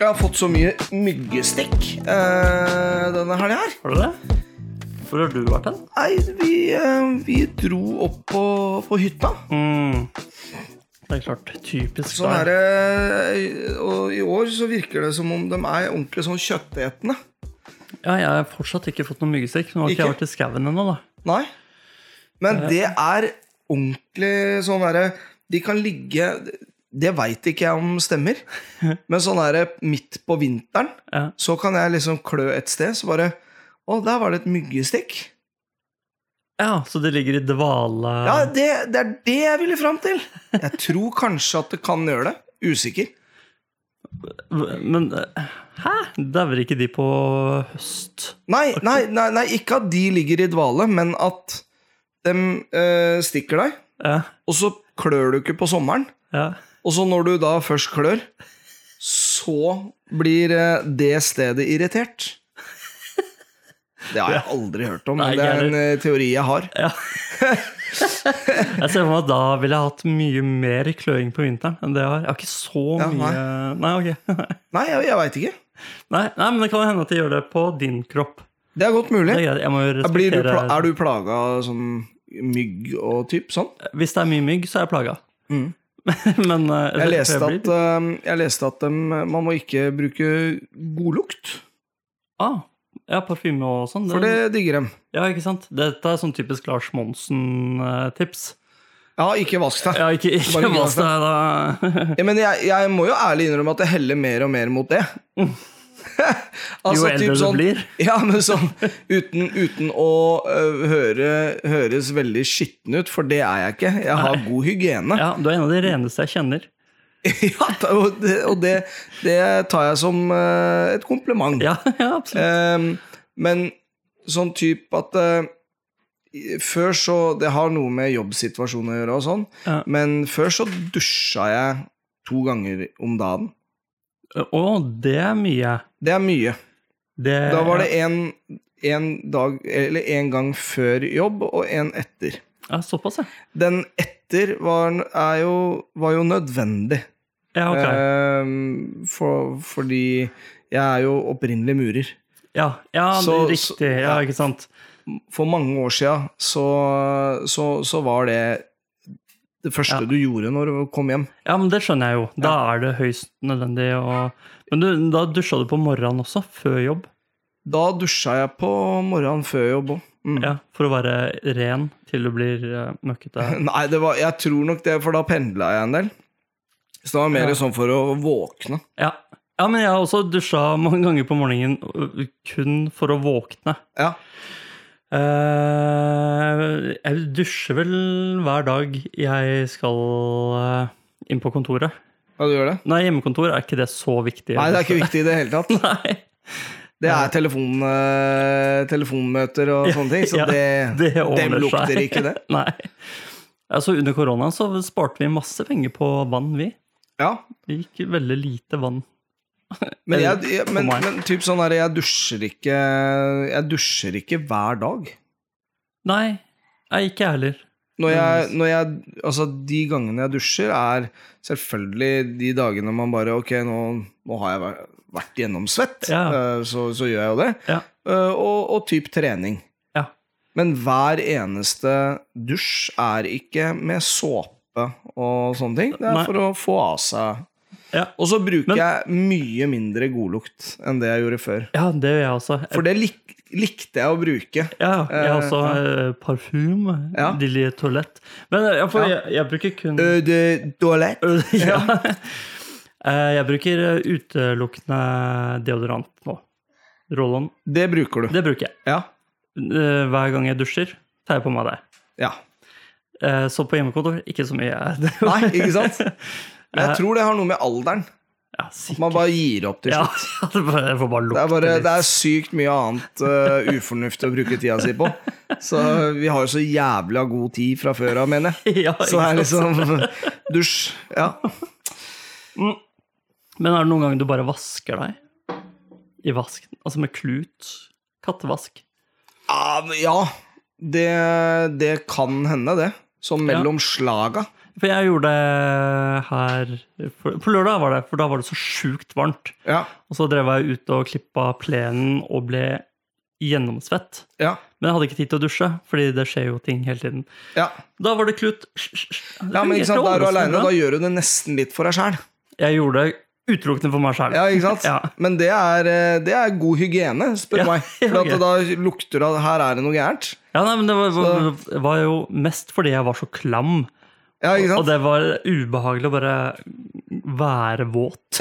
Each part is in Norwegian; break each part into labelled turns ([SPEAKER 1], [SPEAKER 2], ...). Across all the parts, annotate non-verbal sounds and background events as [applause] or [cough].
[SPEAKER 1] Jeg har fått så mye myggestikk eh, denne helga her.
[SPEAKER 2] Har du det? Hvor har du vært hen?
[SPEAKER 1] Nei, vi, eh, vi dro opp på, på hytta.
[SPEAKER 2] Mm. Det er klart. Typisk
[SPEAKER 1] Sånn er
[SPEAKER 2] deg.
[SPEAKER 1] det Og i år så virker det som om de er ordentlig sånn kjøttetende.
[SPEAKER 2] Ja, jeg har fortsatt ikke fått noen myggstikk. Nå har ikke jeg
[SPEAKER 1] Ikke?
[SPEAKER 2] vært i skauen ennå, da.
[SPEAKER 1] Nei. Men det er ordentlig sånn derre De kan ligge Det veit ikke jeg om stemmer, men sånn derre midt på vinteren,
[SPEAKER 2] Ja.
[SPEAKER 1] så kan jeg liksom klø et sted, så bare Å, der var det et myggestikk.
[SPEAKER 2] ja, så det ligger i dvale
[SPEAKER 1] Ja, det, det er det jeg ville fram til. [laughs] Jeg tror kanskje at det kan gjøre det. Usikker.
[SPEAKER 2] Men eh, hæ? Dauer ikke de på høst?
[SPEAKER 1] Nei, nei, nei, nei, ikke at de ligger i dvale, men at de stikker deg,
[SPEAKER 2] Ja.
[SPEAKER 1] og så klør du ikke på sommeren.
[SPEAKER 2] ja.
[SPEAKER 1] Og så når du da først klør, så blir eh, det stedet irritert. Det har jeg aldri hørt om,
[SPEAKER 2] Nei,
[SPEAKER 1] men det er
[SPEAKER 2] ikke
[SPEAKER 1] en eh, teori jeg har.
[SPEAKER 2] Jeg ser for meg at da ville jeg hatt mye mer kløing på vinteren enn det jeg har. Jeg har ikke så
[SPEAKER 1] Ja,
[SPEAKER 2] mye Nei, ok. [laughs]
[SPEAKER 1] Nei, jeg, jeg veit ikke.
[SPEAKER 2] Nei, nei, men det kan hende at de gjør det på din kropp.
[SPEAKER 1] Det er godt mulig.
[SPEAKER 2] Det er greit. Jeg må jo
[SPEAKER 1] Blir du pla
[SPEAKER 2] respektere
[SPEAKER 1] er du plaga av sånn mygg og typ sånn?
[SPEAKER 2] Hvis det er mye mygg, så er jeg plaga. [laughs] men eh,
[SPEAKER 1] Mm. Jeg leste
[SPEAKER 2] for
[SPEAKER 1] at,
[SPEAKER 2] blir-
[SPEAKER 1] eh, jeg leste at dem, man må ikke bruke godlukt,
[SPEAKER 2] ah, Ja, parfyme og sånn.
[SPEAKER 1] for det digger dem.
[SPEAKER 2] Ja, ikke sant? Dette er sånn typisk Lars Monsen-tips.
[SPEAKER 1] Ja, ikke vask deg.
[SPEAKER 2] Ja, ikke, ikke [laughs]
[SPEAKER 1] Bare ikke
[SPEAKER 2] vask deg, da.
[SPEAKER 1] Ja, men jeg, jeg må jo ærlig innrømme at jeg heller mer og mer mot det.
[SPEAKER 2] Mm.
[SPEAKER 1] [laughs] Altså,
[SPEAKER 2] Jo eldre
[SPEAKER 1] typ
[SPEAKER 2] du blir.
[SPEAKER 1] [laughs] Ja, men sånn uten, uten å øh, høre, høres veldig skitten ut, for det er jeg ikke. Jeg har god [laughs] hygiene. Ja.
[SPEAKER 2] Ja, du er en av de reneste jeg kjenner.
[SPEAKER 1] da- og det, og det, det tar jeg som øh, et kompliment.
[SPEAKER 2] Ja, [laughs] ja absolutt.
[SPEAKER 1] Ehm, men sånn type at eh, i- Før så Det har noe med jobbsituasjonen å gjøre og sånn,
[SPEAKER 2] Ja.
[SPEAKER 1] men før så dusja jeg to ganger om dagen.
[SPEAKER 2] Å, det er mye.
[SPEAKER 1] Det er mye.
[SPEAKER 2] Det,
[SPEAKER 1] Da var det en, en dag Eller en gang før jobb og en etter.
[SPEAKER 2] ja, Såpass, ja.
[SPEAKER 1] Den etter var, er jo, var jo nødvendig.
[SPEAKER 2] Ja, ok.
[SPEAKER 1] Ehm, for, fordi jeg er jo opprinnelig murer.
[SPEAKER 2] Ja, ja
[SPEAKER 1] så-
[SPEAKER 2] det er riktig. Ja, ikke sant.
[SPEAKER 1] For mange år sia så, så, så var det det første du gjorde når du kom hjem.
[SPEAKER 2] Ja, men det skjønner jeg jo. Da er det høyst nødvendig å Men du, da dusja du på morgenen også? Før jobb?
[SPEAKER 1] Da dusja jeg på morgenen før jobb òg. Mm.
[SPEAKER 2] Ja, For å være ren til du blir eh, møkkete?
[SPEAKER 1] [laughs] Nei, det var, jeg tror nok det, for da pendla jeg en del. Så det var mer
[SPEAKER 2] Ja.
[SPEAKER 1] sånn for å våkne.
[SPEAKER 2] Ja. ja, men jeg har også dusja mange ganger på morgenen ø, kun for å våkne.
[SPEAKER 1] Ja.
[SPEAKER 2] Eh, jeg dusjer vel hver dag jeg skal eh, inn på kontoret.
[SPEAKER 1] Ja, du gjør det?
[SPEAKER 2] Nei, hjemmekontor er ikke det så viktig.
[SPEAKER 1] Nei, det er ikke viktig i det hele tatt.
[SPEAKER 2] [laughs] Nei,
[SPEAKER 1] [laughs] Det er telefon, eh, telefonmøter og sånne ting, så
[SPEAKER 2] [laughs] ja,
[SPEAKER 1] Liksom, det,
[SPEAKER 2] det
[SPEAKER 1] dem
[SPEAKER 2] ordner
[SPEAKER 1] lukter
[SPEAKER 2] seg.
[SPEAKER 1] ikke det.
[SPEAKER 2] [laughs] Nei. Altså, under korona så sparte vi masse penger på vann, vi.
[SPEAKER 1] Ja,
[SPEAKER 2] Det gikk veldig lite vann.
[SPEAKER 1] men,
[SPEAKER 2] Eller,
[SPEAKER 1] jeg, jeg,
[SPEAKER 2] for
[SPEAKER 1] men,
[SPEAKER 2] meg.
[SPEAKER 1] men typ sånn her, jeg dusjer ikke Jeg dusjer ikke hver dag.
[SPEAKER 2] Nei, jeg ikke jeg heller.
[SPEAKER 1] Når jeg, når jeg, altså De gangene jeg dusjer, er selvfølgelig de dagene man bare Ok, nå, nå har jeg væ- vært gjennomsvett,
[SPEAKER 2] Ja.
[SPEAKER 1] eh, så, så gjør jeg jo det.
[SPEAKER 2] Ja.
[SPEAKER 1] Eh, Og, og type trening.
[SPEAKER 2] Ja.
[SPEAKER 1] Men hver eneste dusj er ikke med såpe og sånne ting. Det er
[SPEAKER 2] Nei.
[SPEAKER 1] for å få av seg
[SPEAKER 2] Ja.
[SPEAKER 1] Og så bruker
[SPEAKER 2] Men-
[SPEAKER 1] jeg mye mindre godlukt enn det jeg gjorde før.
[SPEAKER 2] Ja, det gjør jeg også.
[SPEAKER 1] For det lik, likte jeg å bruke.
[SPEAKER 2] Ja, jeg har
[SPEAKER 1] Eh,
[SPEAKER 2] også eh, parfyme,
[SPEAKER 1] Ja.
[SPEAKER 2] Lilly Toalett. Men eh, ja, for
[SPEAKER 1] Ja. Eh,
[SPEAKER 2] jeg, jeg bruker kun
[SPEAKER 1] Ø, det- Toalett.
[SPEAKER 2] [laughs] ja. Eh, Jeg bruker eh, utelukkende deodorant nå. Roll-on.
[SPEAKER 1] Det bruker du.
[SPEAKER 2] Det bruker jeg.
[SPEAKER 1] Ja.
[SPEAKER 2] Eh, Hver gang jeg dusjer, tar jeg på meg det.
[SPEAKER 1] ja.
[SPEAKER 2] Eh, Så på hjemmekontor, ikke så mye. [laughs]
[SPEAKER 1] Nei, ikke sant? Men jeg tror det har noe med alderen.
[SPEAKER 2] Ja, sikkert.
[SPEAKER 1] Man bare gir opp til
[SPEAKER 2] Ja, [laughs]
[SPEAKER 1] slutt.
[SPEAKER 2] det bare- jeg får bare
[SPEAKER 1] Det
[SPEAKER 2] lukte
[SPEAKER 1] er, bare,
[SPEAKER 2] litt.
[SPEAKER 1] det er sykt mye annet eh, ufornuftig å bruke tida si på. Så vi har jo så jævla god tid fra før av, mener jeg.
[SPEAKER 2] [laughs] ja,
[SPEAKER 1] Så det
[SPEAKER 2] ikke
[SPEAKER 1] er
[SPEAKER 2] sant?
[SPEAKER 1] liksom dusj. Ja.
[SPEAKER 2] Men er det noen gang du bare vasker deg? I vasken? Altså med klut? Kattevask?
[SPEAKER 1] Ah, men ja. Det, det kan hende, det. Sånn mellom slaga.
[SPEAKER 2] For jeg gjorde det her for- På lørdag var det, for da var det så sjukt varmt.
[SPEAKER 1] Ja,
[SPEAKER 2] Og så drev jeg ut og klippa plenen og ble gjennomsvett.
[SPEAKER 1] ja,
[SPEAKER 2] Men jeg hadde ikke tid til å dusje, fordi det skjer jo ting hele tiden.
[SPEAKER 1] ja.
[SPEAKER 2] Da var det klut.
[SPEAKER 1] ja men ikke sant, Da er du aleine, da gjør du det nesten litt for deg sjæl.
[SPEAKER 2] Jeg gjorde det utelukkende for meg sjæl.
[SPEAKER 1] Ja, ikke sant?
[SPEAKER 2] [laughs] Ja.
[SPEAKER 1] Men det er, eh, det er god hygiene, spør
[SPEAKER 2] Ja,
[SPEAKER 1] meg.
[SPEAKER 2] [laughs]
[SPEAKER 1] For at
[SPEAKER 2] ok.
[SPEAKER 1] da lukter det at her er det noe gærent.
[SPEAKER 2] Ja, nei, men det var, var, var jo mest fordi jeg var så klam.
[SPEAKER 1] Ja, ikke
[SPEAKER 2] Og
[SPEAKER 1] sant?
[SPEAKER 2] det var ubehagelig å bare være våt.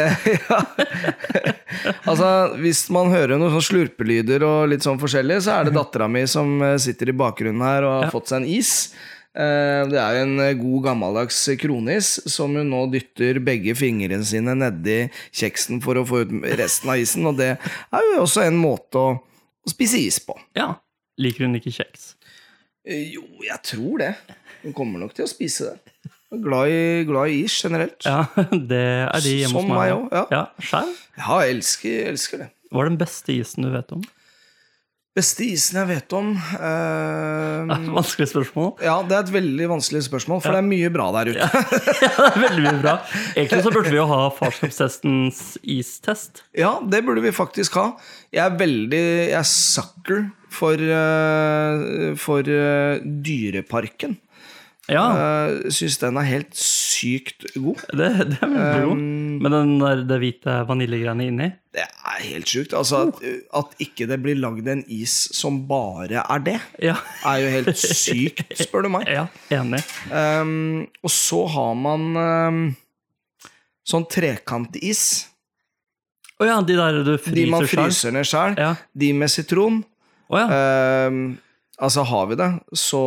[SPEAKER 1] Altså, Hvis man hører noen sånn slurpelyder og litt sånn forskjellig, så er det dattera mi som eh, sitter i bakgrunnen her og har fått seg en is. Eh, Det er jo en eh, god gammeldags kronis som hun nå dytter begge fingrene sine nedi kjeksen for å få ut resten av isen, og det er jo også en måte å å spise is på.
[SPEAKER 2] Ja. Liker hun ikke kjeks?
[SPEAKER 1] Eh, Jo, jeg tror det. Hun kommer nok til å spise det. Hun er Glad i, glad i is generelt.
[SPEAKER 2] Ja, [laughs] det er de hjemme hos
[SPEAKER 1] Som meg
[SPEAKER 2] meg.
[SPEAKER 1] også, ja.
[SPEAKER 2] ja skjær?
[SPEAKER 1] Ja, jeg elsker, jeg elsker det.
[SPEAKER 2] Hva er den beste isen du vet om? [laughs]
[SPEAKER 1] Beste isen jeg vet om eh,
[SPEAKER 2] Vanskelig spørsmål. [laughs]
[SPEAKER 1] Ja, det er et veldig vanskelig spørsmål, for det er mye bra der ute. [laughs] Ja,
[SPEAKER 2] Ja, det er veldig mye bra. Egentlig så burde vi jo ha farskapstestens istest.
[SPEAKER 1] det burde vi faktisk ha. Jeg er veldig Jeg er sucker for, eh, for eh, Dyreparken.
[SPEAKER 2] Ja,
[SPEAKER 1] Uh, Syns den er helt sykt god.
[SPEAKER 2] det, det er veldig
[SPEAKER 1] Um,
[SPEAKER 2] god. Med den der, det hvite vaniljegreiene inni.
[SPEAKER 1] Det er helt sjukt. Altså, at, at ikke det blir lagd en is som bare er det,
[SPEAKER 2] Ja,
[SPEAKER 1] er jo helt sykt, spør du meg.
[SPEAKER 2] ja enig.
[SPEAKER 1] Um, og så har man um, sånn trekantis.
[SPEAKER 2] Å ja, de der du
[SPEAKER 1] De man
[SPEAKER 2] fryser sjøl.
[SPEAKER 1] fryser ned sjøl.
[SPEAKER 2] Ja.
[SPEAKER 1] De med sitron.
[SPEAKER 2] Å ja.
[SPEAKER 1] Um, altså, har vi det, så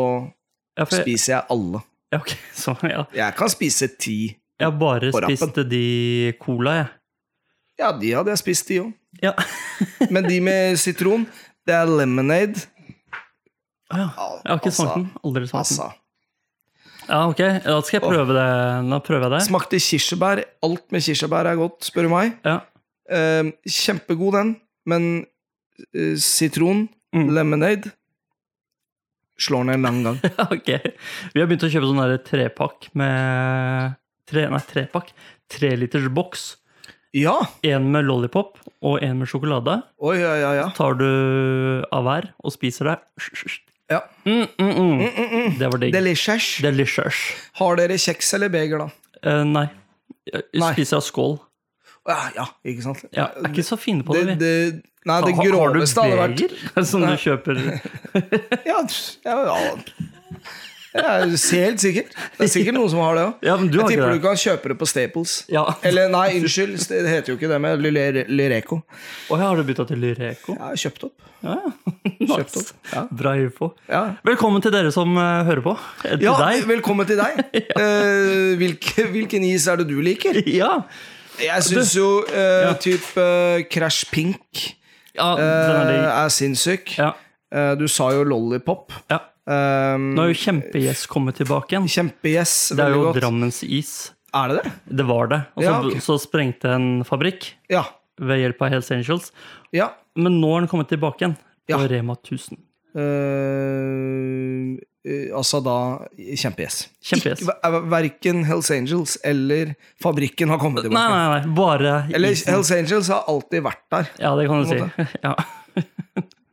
[SPEAKER 2] ja, for jeg,
[SPEAKER 1] spiser jeg alle.
[SPEAKER 2] ja, ok, [laughs] så, ja.
[SPEAKER 1] Jeg kan spise ti.
[SPEAKER 2] Jeg har bare
[SPEAKER 1] På rappen.
[SPEAKER 2] spist de cola, jeg.
[SPEAKER 1] Ja, de hadde jeg spist, de òg.
[SPEAKER 2] Ja. [laughs]
[SPEAKER 1] Men de med sitron, det er lemonade.
[SPEAKER 2] Å ja. Jeg har ikke smakt den. Aldri smakt den.
[SPEAKER 1] Altså.
[SPEAKER 2] Ja, ok, Da skal jeg prøve det. Da prøver jeg det.
[SPEAKER 1] Smakte kirsebær. Alt med kirsebær er godt, spør du meg.
[SPEAKER 2] Ja.
[SPEAKER 1] Um, kjempegod, den. Men eh, sitron,
[SPEAKER 2] Mm.
[SPEAKER 1] lemonade Slår ned en lang gang.
[SPEAKER 2] [laughs] Ja, ok. Vi har begynt å kjøpe sånn der trepakk med tre, Nei, trepakk. Treliters boks.
[SPEAKER 1] Ja!
[SPEAKER 2] Én med lollipop og én med sjokolade.
[SPEAKER 1] Oi, ja, ja, ja.
[SPEAKER 2] Tar du av hver og spiser det.
[SPEAKER 1] Ja.
[SPEAKER 2] Mm, mm, mm.
[SPEAKER 1] Mm, mm, mm.
[SPEAKER 2] Det var digg.
[SPEAKER 1] Delicious.
[SPEAKER 2] Delicious.
[SPEAKER 1] Har dere kjeks eller beger, da?
[SPEAKER 2] Eh, nei.
[SPEAKER 1] Nei.
[SPEAKER 2] Jeg spiser av skål.
[SPEAKER 1] Ja, ja ikke sant?
[SPEAKER 2] Ja, er ikke så fine på
[SPEAKER 1] det,
[SPEAKER 2] det, vi.
[SPEAKER 1] det, nei, det
[SPEAKER 2] Har- har du
[SPEAKER 1] groveste hadde vært
[SPEAKER 2] beger [laughs] Som du
[SPEAKER 1] Nei.
[SPEAKER 2] kjøper
[SPEAKER 1] Ja, ja, ja. Jeg er helt sikker. Det er sikkert noen som har det òg.
[SPEAKER 2] Ja, men du
[SPEAKER 1] Jeg
[SPEAKER 2] har
[SPEAKER 1] tipper
[SPEAKER 2] ikke
[SPEAKER 1] du
[SPEAKER 2] det.
[SPEAKER 1] kan kjøpe det på Staples.
[SPEAKER 2] Ja.
[SPEAKER 1] Eller nei, unnskyld, det heter jo ikke det med Lyle- Lyreco.
[SPEAKER 2] Å, ja, har du bytta til Lyreco?
[SPEAKER 1] Jeg har kjøpt opp.
[SPEAKER 2] Ja, ja.
[SPEAKER 1] [laughs] Kjøpt opp.
[SPEAKER 2] Nice.
[SPEAKER 1] Ja.
[SPEAKER 2] Bra info.
[SPEAKER 1] Ja.
[SPEAKER 2] Velkommen til dere som eh, hører på. Eh, Til
[SPEAKER 1] Ja,
[SPEAKER 2] deg.
[SPEAKER 1] velkommen til
[SPEAKER 2] [laughs]
[SPEAKER 1] deg. Eh, hvilke, hvilken is er det du liker?
[SPEAKER 2] [laughs] Ja.
[SPEAKER 1] Jeg syns jo eh,
[SPEAKER 2] Ja.
[SPEAKER 1] type eh, Crash Pink
[SPEAKER 2] ja,
[SPEAKER 1] eh,
[SPEAKER 2] den er digg.
[SPEAKER 1] er sinnssyk.
[SPEAKER 2] Ja,
[SPEAKER 1] Eh, du sa jo Lollipop.
[SPEAKER 2] ja.
[SPEAKER 1] Um,
[SPEAKER 2] Nå har jo Kjempegjess kommet tilbake igjen.
[SPEAKER 1] Kjempegjess.
[SPEAKER 2] Det er
[SPEAKER 1] veldig
[SPEAKER 2] jo
[SPEAKER 1] godt.
[SPEAKER 2] Drammens is.
[SPEAKER 1] Er det det?
[SPEAKER 2] Det var det. Og så,
[SPEAKER 1] Ja, ok.
[SPEAKER 2] så sprengte en fabrikk
[SPEAKER 1] Ja.
[SPEAKER 2] ved hjelp av Hells Angels.
[SPEAKER 1] ja.
[SPEAKER 2] Men nå har den kommet tilbake igjen. På
[SPEAKER 1] Ja.
[SPEAKER 2] Rema 1000.
[SPEAKER 1] Eh, eh, altså da Kjempegjess.
[SPEAKER 2] Kjempegjess.
[SPEAKER 1] Ikke- ver- Verken Hells Angels eller Fabrikken har kommet
[SPEAKER 2] Nei,
[SPEAKER 1] tilbake.
[SPEAKER 2] nei, nei. Bare
[SPEAKER 1] Eller
[SPEAKER 2] isen.
[SPEAKER 1] Hells Angels har alltid vært der.
[SPEAKER 2] Ja, det kan du si.
[SPEAKER 1] på en
[SPEAKER 2] [laughs] Ja.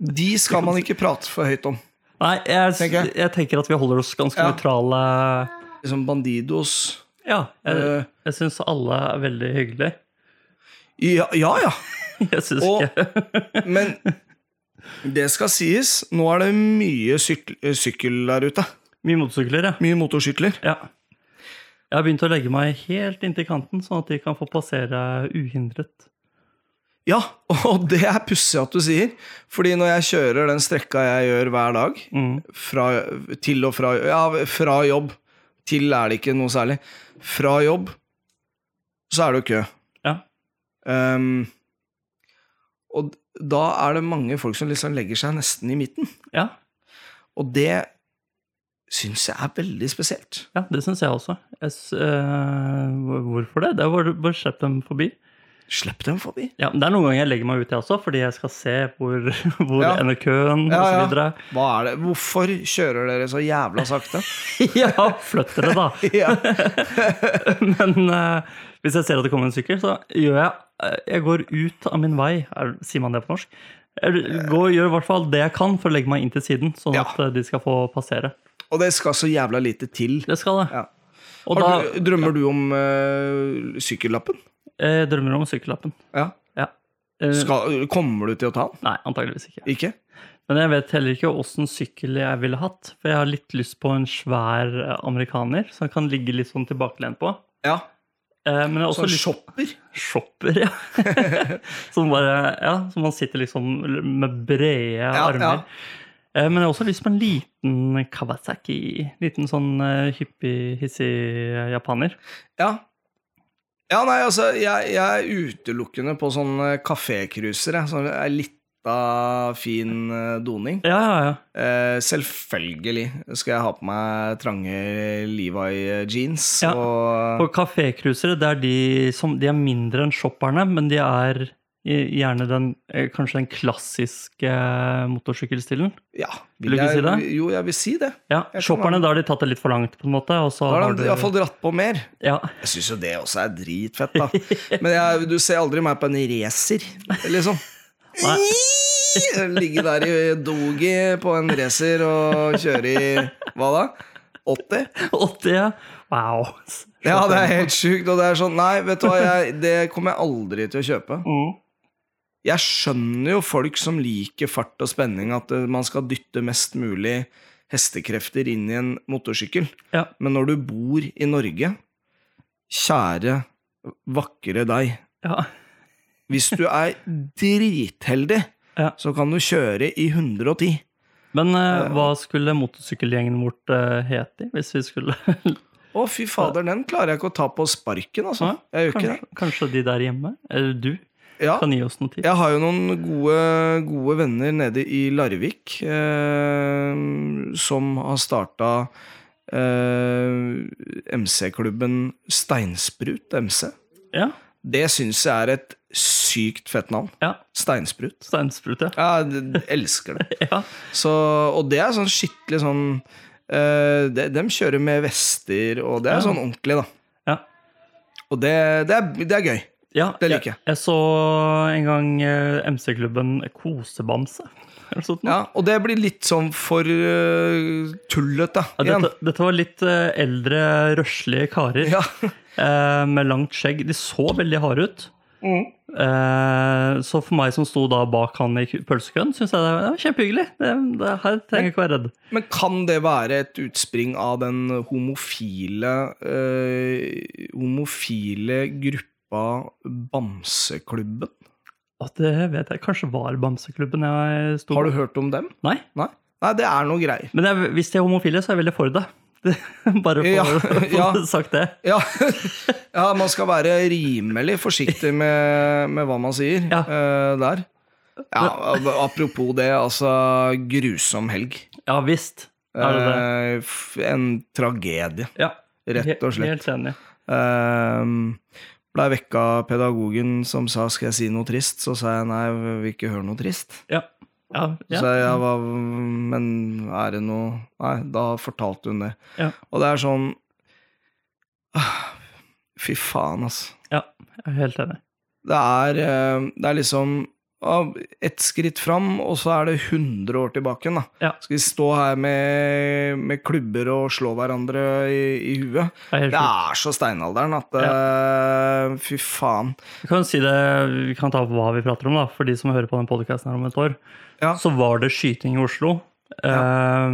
[SPEAKER 1] De skal man ikke prate for høyt om.
[SPEAKER 2] Nei, jeg,
[SPEAKER 1] Tenker jeg.
[SPEAKER 2] jeg tenker at vi holder oss ganske
[SPEAKER 1] Ja.
[SPEAKER 2] nøytrale.
[SPEAKER 1] Liksom Bandidos
[SPEAKER 2] Ja, jeg,
[SPEAKER 1] Eh.
[SPEAKER 2] jeg syns alle er veldig hyggelige. [laughs]
[SPEAKER 1] Ja, ja. ja.
[SPEAKER 2] Jeg syns
[SPEAKER 1] Og-
[SPEAKER 2] ikke [laughs]
[SPEAKER 1] Men det skal sies, nå er det mye syk eh, sykkel der ute.
[SPEAKER 2] Mye motorsykler, ja.
[SPEAKER 1] Mye motorsykler.
[SPEAKER 2] Ja. Jeg har begynt å legge meg helt inntil kanten, sånn at de kan få passere uhindret.
[SPEAKER 1] Ja, [laughs] og det er pussig at du sier. Fordi når jeg kjører den strekka jeg gjør hver dag,
[SPEAKER 2] Mm.
[SPEAKER 1] fra, til og fra, ja, fra jobb Til er det ikke noe særlig. Fra jobb så er det jo kø.
[SPEAKER 2] Ja.
[SPEAKER 1] Ehm, og da er det mange folk som liksom legger seg nesten i midten.
[SPEAKER 2] Ja,
[SPEAKER 1] Og det syns jeg er veldig spesielt.
[SPEAKER 2] ja det syns jeg også. Jeg s- eh, hvorfor det? Det er bare bare slipp dem forbi.
[SPEAKER 1] Slipp dem forbi.
[SPEAKER 2] Ja, men det er noen ganger jeg legger meg ut, jeg også, fordi jeg skal se hvor, [laughs] hvor
[SPEAKER 1] Ja.
[SPEAKER 2] ender køen
[SPEAKER 1] Ja, ja.
[SPEAKER 2] osv.
[SPEAKER 1] [laughs] Hva er det? Hvorfor kjører dere så jævla sakte?
[SPEAKER 2] Ja, flytt dere, da.
[SPEAKER 1] [laughs] ja.
[SPEAKER 2] Men eh, hvis jeg ser at det kommer en sykkel, så gjør jeg eh, Jeg går ut av min vei. Er, sier man det på norsk? Jeg går, gjør i hvert fall det jeg kan for å legge meg inn til siden, sånn
[SPEAKER 1] Eh. Ja.
[SPEAKER 2] at eh, de skal få passere.
[SPEAKER 1] Og det skal så jævla lite til.
[SPEAKER 2] Det skal jeg.
[SPEAKER 1] Ja.
[SPEAKER 2] Og da
[SPEAKER 1] Har du, drømmer du om eh, sykkellappen?
[SPEAKER 2] eh, drømmer jeg om sykkellappen.
[SPEAKER 1] Ja.
[SPEAKER 2] Ja. Eh,
[SPEAKER 1] Skal, kommer du til å ta den?
[SPEAKER 2] Nei, antageligvis ikke.
[SPEAKER 1] Ikke?
[SPEAKER 2] Men jeg vet heller ikke åssen sykkel jeg ville hatt. For jeg har litt lyst på en svær eh, amerikaner som jeg kan ligge litt sånn tilbakelent på.
[SPEAKER 1] Ja.
[SPEAKER 2] Eh, Men jeg har også
[SPEAKER 1] Sånn
[SPEAKER 2] lyst
[SPEAKER 1] shopper?
[SPEAKER 2] Shopper, ja. [laughs] som bare, ja, som man sitter liksom med brede armer.
[SPEAKER 1] ja.
[SPEAKER 2] Eh, Men jeg har også lyst på en liten Kawasaki. Liten sånn eh, hippie, hissig eh, japaner.
[SPEAKER 1] Ja. Ja, nei, altså, jeg, jeg er utelukkende på sånne kafécruiser, jeg. Sånn ei lita, fin eh, doning.
[SPEAKER 2] Ja, ja, ja.
[SPEAKER 1] Eh, selvfølgelig skal jeg ha på meg trange Levi jeans
[SPEAKER 2] Ja.
[SPEAKER 1] og
[SPEAKER 2] Og kafécruisere, det er de som De er mindre enn shopperne, men de er i- gjerne den eh, kanskje den klassiske eh, motorsykkelstilen.
[SPEAKER 1] Ja.
[SPEAKER 2] Vil du ikke
[SPEAKER 1] jeg,
[SPEAKER 2] si det?
[SPEAKER 1] Jo, jeg vil si det.
[SPEAKER 2] Ja,
[SPEAKER 1] Jeg kan
[SPEAKER 2] shopperne, da har de tatt det litt for langt, på en måte. Og så
[SPEAKER 1] Da har
[SPEAKER 2] har
[SPEAKER 1] de
[SPEAKER 2] du
[SPEAKER 1] iallfall dratt på mer.
[SPEAKER 2] Ja. [laughs]
[SPEAKER 1] Jeg syns jo det også er dritfett, da. Men jeg, du ser aldri meg på en racer, liksom.
[SPEAKER 2] Nei.
[SPEAKER 1] Ligge der i dogi på en racer og kjøre i hva da? 80?
[SPEAKER 2] 80, ja. Wow.
[SPEAKER 1] Ja, det er helt sjukt. Og det er sånn, nei, vet du hva, jeg, det kommer jeg aldri til å kjøpe.
[SPEAKER 2] Mm.
[SPEAKER 1] Jeg skjønner jo folk som liker fart og spenning, at eh, man skal dytte mest mulig hestekrefter inn i en motorsykkel.
[SPEAKER 2] Ja.
[SPEAKER 1] Men når du bor i Norge, kjære, vakre deg,
[SPEAKER 2] Ja.
[SPEAKER 1] hvis du
[SPEAKER 2] [laughs]
[SPEAKER 1] er dritheldig,
[SPEAKER 2] Ja.
[SPEAKER 1] så kan du kjøre i 110.
[SPEAKER 2] Men eh, hva skulle motorsykkelgjengen vårt eh, hete hvis vi skulle
[SPEAKER 1] [laughs] Å, fy fader, den klarer jeg ikke å ta på sparken, altså.
[SPEAKER 2] Nei,
[SPEAKER 1] Jeg gjør ikke
[SPEAKER 2] kanskje,
[SPEAKER 1] det.
[SPEAKER 2] kanskje de der hjemme, eller du,
[SPEAKER 1] Ja.
[SPEAKER 2] kan gi oss noen tips?
[SPEAKER 1] Jeg har jo noen gode, gode venner nede i Larvik eh, som har starta eh, MC-klubben Steinsprut MC.
[SPEAKER 2] Ja.
[SPEAKER 1] Det syns jeg er et sykt fett navn.
[SPEAKER 2] ja.
[SPEAKER 1] Steinsprut.
[SPEAKER 2] Steinsprut, ja.
[SPEAKER 1] Jeg elsker det.
[SPEAKER 2] ja.
[SPEAKER 1] [laughs] Så, og det er sånn skikkelig sånn eh, de, Dem kjører med vester, og det er sånn ordentlig, da.
[SPEAKER 2] Ja.
[SPEAKER 1] Og det, det, er, det er gøy.
[SPEAKER 2] ja.
[SPEAKER 1] Det liker jeg.
[SPEAKER 2] Jeg, jeg så en gang eh, MC-klubben Kosebamse. Eller sånt noe.
[SPEAKER 1] Ja, og det blir litt sånn for uh, tullete,
[SPEAKER 2] Ja,
[SPEAKER 1] igjen.
[SPEAKER 2] dette, dette var litt eh, eldre, røslige karer
[SPEAKER 1] Ja.
[SPEAKER 2] eh, med langt skjegg. De så veldig harde ut. Eh, så for meg som sto da bak han i k- pølsekøen, syns jeg det var kjempehyggelig. Det, det, her trenger jeg ikke være redd.
[SPEAKER 1] Men kan det være et utspring av den homofile eh, Homofile gruppa Bamseklubben?
[SPEAKER 2] Å, det vet jeg. Kanskje var Bamseklubben jeg sto
[SPEAKER 1] Har du hørt om dem?
[SPEAKER 2] Nei.
[SPEAKER 1] Nei? Nei, det er noe greier. [laughs]
[SPEAKER 2] Men jeg, hvis de er homofile, så er jeg veldig for det. [laughs] Det- Bare for
[SPEAKER 1] Ja,
[SPEAKER 2] for å
[SPEAKER 1] ja.
[SPEAKER 2] få sagt det.
[SPEAKER 1] Ja. ja, man skal være rimelig forsiktig med, med hva man sier
[SPEAKER 2] Ja.
[SPEAKER 1] eh, der. Ja, apropos det, altså grusom helg.
[SPEAKER 2] Ja visst. Er det det?
[SPEAKER 1] Eh, f- en tragedie.
[SPEAKER 2] Ja.
[SPEAKER 1] Rett og
[SPEAKER 2] He-
[SPEAKER 1] slett.
[SPEAKER 2] Helt enig.
[SPEAKER 1] Ehm, Blei vekka av pedagogen som sa 'skal jeg si noe trist', så sa jeg nei, jeg vil ikke høre noe trist.
[SPEAKER 2] Ja. Ja,
[SPEAKER 1] Så
[SPEAKER 2] ja.
[SPEAKER 1] jeg var, Men er det noe Nei, da fortalte hun det.
[SPEAKER 2] Ja.
[SPEAKER 1] Og det er sånn ah, Fy faen, altså.
[SPEAKER 2] ja. Jeg er helt enig.
[SPEAKER 1] Det er, eh, det er liksom ah, ett skritt fram, og så er det 100 år tilbake igjen, da.
[SPEAKER 2] Ja.
[SPEAKER 1] Skal vi stå her med, med klubber og slå hverandre i, i huet?
[SPEAKER 2] Jeg er helt
[SPEAKER 1] Det
[SPEAKER 2] sjuk.
[SPEAKER 1] er så steinalderen at eh, Fy faen.
[SPEAKER 2] Vi kan si det, vi kan ta hva vi prater om, da. For de som hører på den podkasten her om et år,
[SPEAKER 1] Ja.
[SPEAKER 2] så var det skyting i Oslo. Eh,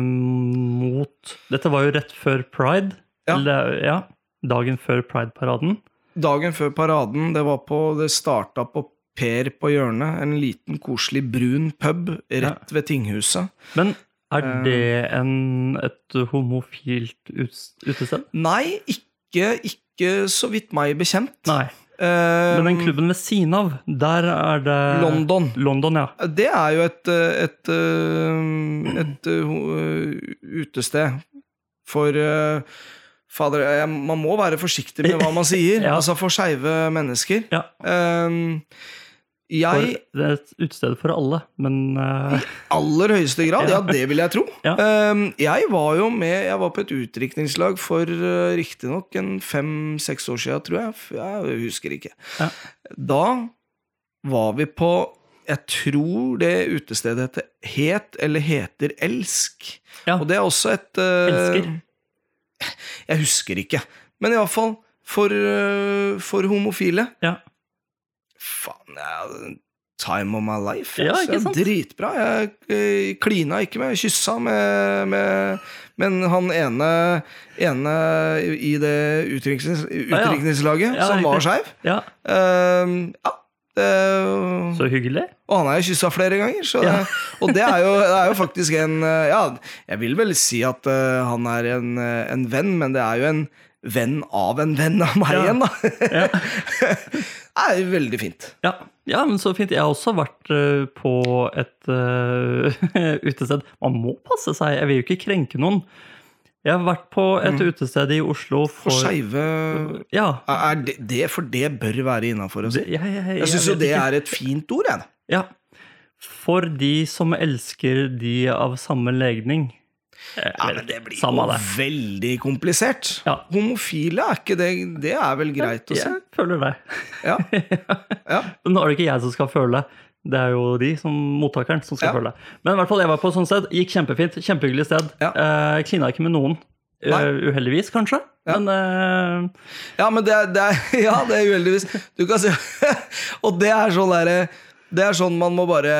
[SPEAKER 2] mot Dette var jo rett før pride.
[SPEAKER 1] Ja.
[SPEAKER 2] Eller, ja. Dagen før Pride-paraden.
[SPEAKER 1] Dagen før paraden, det var på Det starta på Per på hjørnet, en liten, koselig brun pub rett ved tinghuset.
[SPEAKER 2] Men er
[SPEAKER 1] Eh.
[SPEAKER 2] det en, et homofilt uts- utested?
[SPEAKER 1] Nei, ikke, ikke så vidt meg bekjent.
[SPEAKER 2] Nei.
[SPEAKER 1] Eh,
[SPEAKER 2] Men den klubben ved siden av, der er det
[SPEAKER 1] London.
[SPEAKER 2] London, ja.
[SPEAKER 1] Det er jo et, eh, et, eh, et, eh, ho- eh, utested for eh, Fader, jeg, man må være forsiktig med hva man sier,
[SPEAKER 2] [laughs] Ja.
[SPEAKER 1] altså for skeive mennesker.
[SPEAKER 2] Ja.
[SPEAKER 1] Ehm, jeg
[SPEAKER 2] For, det er et utested for alle, men eh,
[SPEAKER 1] aller høyeste grad, ja,
[SPEAKER 2] Ja.
[SPEAKER 1] det vil jeg tro.
[SPEAKER 2] Ja.
[SPEAKER 1] Ehm, jeg var jo med Jeg var på et utdrikningslag for uh, riktignok en fem-seks år siden, tror jeg. F- Jeg husker ikke.
[SPEAKER 2] Ja.
[SPEAKER 1] Da var vi på jeg tror det utestedet heter Het eller heter Elsk.
[SPEAKER 2] Ja.
[SPEAKER 1] Og det er også et eh,
[SPEAKER 2] Elsker.
[SPEAKER 1] Jeg husker ikke. Men iallfall for, eh, for homofile.
[SPEAKER 2] ja.
[SPEAKER 1] Faen, jeg, time of my life.
[SPEAKER 2] Ja,
[SPEAKER 1] altså.
[SPEAKER 2] ikke sant?
[SPEAKER 1] Dritbra. Jeg eh, klina ikke med, jeg kyssa med, med Men han ene, ene i det utdriknings,
[SPEAKER 2] ja.
[SPEAKER 1] utdrikningslaget
[SPEAKER 2] Ja,
[SPEAKER 1] som
[SPEAKER 2] riktig.
[SPEAKER 1] var skeiv
[SPEAKER 2] ja.
[SPEAKER 1] eh, Ja. det-
[SPEAKER 2] Så hyggelig.
[SPEAKER 1] og han har jeg kyssa flere ganger. Så
[SPEAKER 2] Ja.
[SPEAKER 1] det, [laughs] og det er, jo, det er jo faktisk en eh, Ja, jeg vil vel si at eh, han er en, eh, en venn, men det er jo en venn av en venn av meg
[SPEAKER 2] Ja.
[SPEAKER 1] igjen, da. [laughs] det er jo veldig fint.
[SPEAKER 2] Ja. ja, men så fint. Jeg har også vært eh, på et eh, [laughs] utested. Man må passe seg, jeg vil jo ikke krenke noen. Jeg har vært på et utested i Oslo for,
[SPEAKER 1] For skeive
[SPEAKER 2] Ja.
[SPEAKER 1] er det, det, For det bør være innafor å si.
[SPEAKER 2] Det- Jeg, jeg, jeg
[SPEAKER 1] Jeg syns jo
[SPEAKER 2] vet
[SPEAKER 1] det
[SPEAKER 2] ikke.
[SPEAKER 1] er et fint ord, jeg. da.
[SPEAKER 2] Ja. For de som elsker de av samme legning. Eh,
[SPEAKER 1] Ja, men det blir
[SPEAKER 2] Samme
[SPEAKER 1] jo
[SPEAKER 2] det.
[SPEAKER 1] veldig komplisert.
[SPEAKER 2] Ja.
[SPEAKER 1] Homofile er ikke det Det er vel greit å si?
[SPEAKER 2] Jeg føler det. [laughs]
[SPEAKER 1] Ja. ja.
[SPEAKER 2] Nå er det ikke jeg som skal føle det. Det er jo de, som mottakeren, som skal
[SPEAKER 1] Ja.
[SPEAKER 2] føle det. Men i hvert fall, jeg var på et sånt sted. Gikk kjempefint. Kjempehyggelig sted.
[SPEAKER 1] Ja.
[SPEAKER 2] Eh, klina ikke med noen. Eh,
[SPEAKER 1] Nei.
[SPEAKER 2] uheldigvis, kanskje.
[SPEAKER 1] Ja.
[SPEAKER 2] Men eh,
[SPEAKER 1] Ja, men det er, det er, [laughs] ja, det er uheldigvis. Du kan se [laughs] Og det er sånn derre Det er sånn man må bare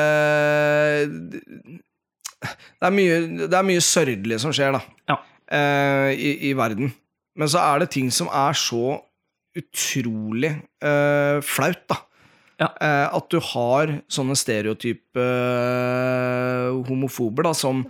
[SPEAKER 1] Det er mye, det er mye sørgelig som skjer, da.
[SPEAKER 2] ja.
[SPEAKER 1] eh, i, I verden. Men så er det ting som er så utrolig eh, flaut, da.
[SPEAKER 2] Ja.
[SPEAKER 1] Eh, at du har sånne stereotype eh, homofober da, som,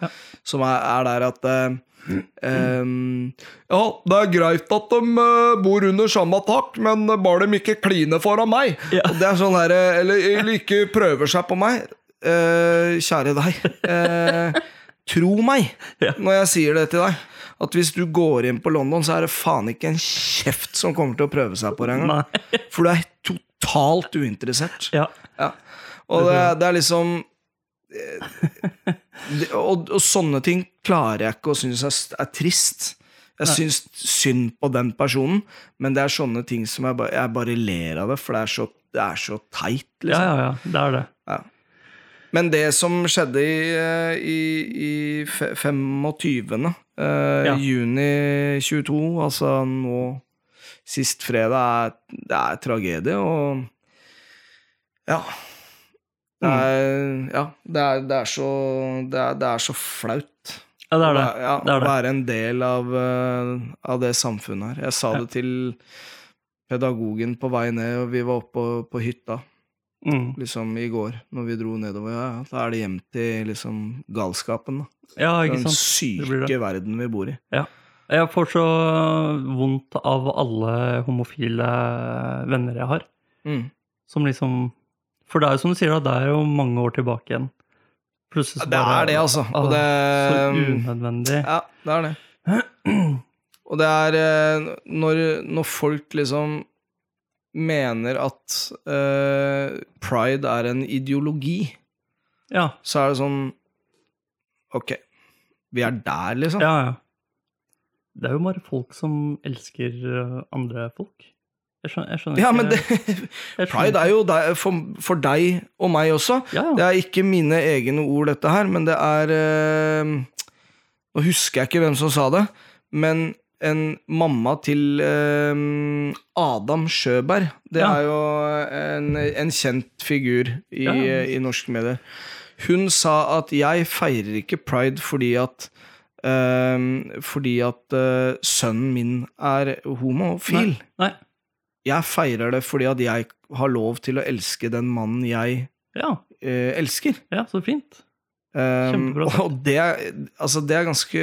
[SPEAKER 1] som er, er der at eh, Ehm, ja, det er greit at de eh, bor under samme tak, men bare de ikke kliner foran meg.
[SPEAKER 2] Ja.
[SPEAKER 1] Og det er sånn der, eh, eller, eller ikke prøver seg på meg. Eh, kjære deg, eh, tro meg
[SPEAKER 2] Ja.
[SPEAKER 1] når jeg sier det til deg. At hvis du går inn på London, så er det faen ikke en kjeft som kommer til å prøve seg på deg engang.
[SPEAKER 2] Nei.
[SPEAKER 1] For du er totalt uinteressert.
[SPEAKER 2] Ja.
[SPEAKER 1] Ja. Og det, det er liksom eh, det, og, og sånne ting klarer jeg ikke å synes er, s- er trist. Jeg syns synd på den personen, men det er sånne ting som jeg, ba- jeg bare ler av det, for det er så, det er så teit,
[SPEAKER 2] ja,
[SPEAKER 1] liksom.
[SPEAKER 2] ja, ja. Det er det.
[SPEAKER 1] Men det som skjedde i, eh, i, i fe- 25. eh,
[SPEAKER 2] Ja.
[SPEAKER 1] juni 22, altså nå sist fredag, er, det er tragedie, og ja. Det er,
[SPEAKER 2] Mm.
[SPEAKER 1] ja, det er, det er så det er, det er så flaut
[SPEAKER 2] Ja, det er det.
[SPEAKER 1] ja,
[SPEAKER 2] det, er
[SPEAKER 1] å
[SPEAKER 2] det.
[SPEAKER 1] være en del av, eh, av det samfunnet her. Jeg sa det til pedagogen på vei ned, og vi var oppe på, på hytta
[SPEAKER 2] Mm.
[SPEAKER 1] liksom i går, når vi dro nedover, ja, ja, da er det hjem til liksom galskapen, da.
[SPEAKER 2] Ja, ikke
[SPEAKER 1] Den
[SPEAKER 2] sant. Det blir
[SPEAKER 1] syke
[SPEAKER 2] det.
[SPEAKER 1] verden vi bor i.
[SPEAKER 2] Jeg får så vondt av alle homofile venner jeg har.
[SPEAKER 1] Mm.
[SPEAKER 2] Som liksom For det er jo som du sier, da, det er jo mange år tilbake igjen. Plutselig Ah,
[SPEAKER 1] Ja, det er det, altså. Og det, ehm,
[SPEAKER 2] Så unødvendig.
[SPEAKER 1] ja, det er det. [clears throat] Og det er eh, når, når folk liksom mener at eh, pride er en ideologi,
[SPEAKER 2] Ja,
[SPEAKER 1] så er det sånn Ok, vi er der, liksom.
[SPEAKER 2] ja, ja. Det er jo bare folk som elsker eh, andre folk. Jeg skjønner, jeg skjønner
[SPEAKER 1] Ja,
[SPEAKER 2] ikke
[SPEAKER 1] men det, [laughs]
[SPEAKER 2] jeg skjønner
[SPEAKER 1] pride er jo der, for, for deg og meg også.
[SPEAKER 2] ikke. ja,
[SPEAKER 1] Det
[SPEAKER 2] ja.
[SPEAKER 1] er ikke mine egne ord, dette her, men det er eh, Nå husker jeg ikke hvem som sa det, men en mamma til eh, Adam Sjøberg. Det
[SPEAKER 2] Ja.
[SPEAKER 1] er jo en, en kjent figur i,
[SPEAKER 2] Ja, ja.
[SPEAKER 1] i norske medier. Hun sa at 'jeg feirer ikke pride fordi at eh, fordi at eh, sønnen min er homofil.
[SPEAKER 2] Nei.
[SPEAKER 1] Jeg feirer det fordi at jeg har lov til å elske den mannen jeg
[SPEAKER 2] Ja,
[SPEAKER 1] eh, elsker.
[SPEAKER 2] ja, så fint.
[SPEAKER 1] Um,
[SPEAKER 2] Kjempebra sagt.
[SPEAKER 1] og det, altså det er ganske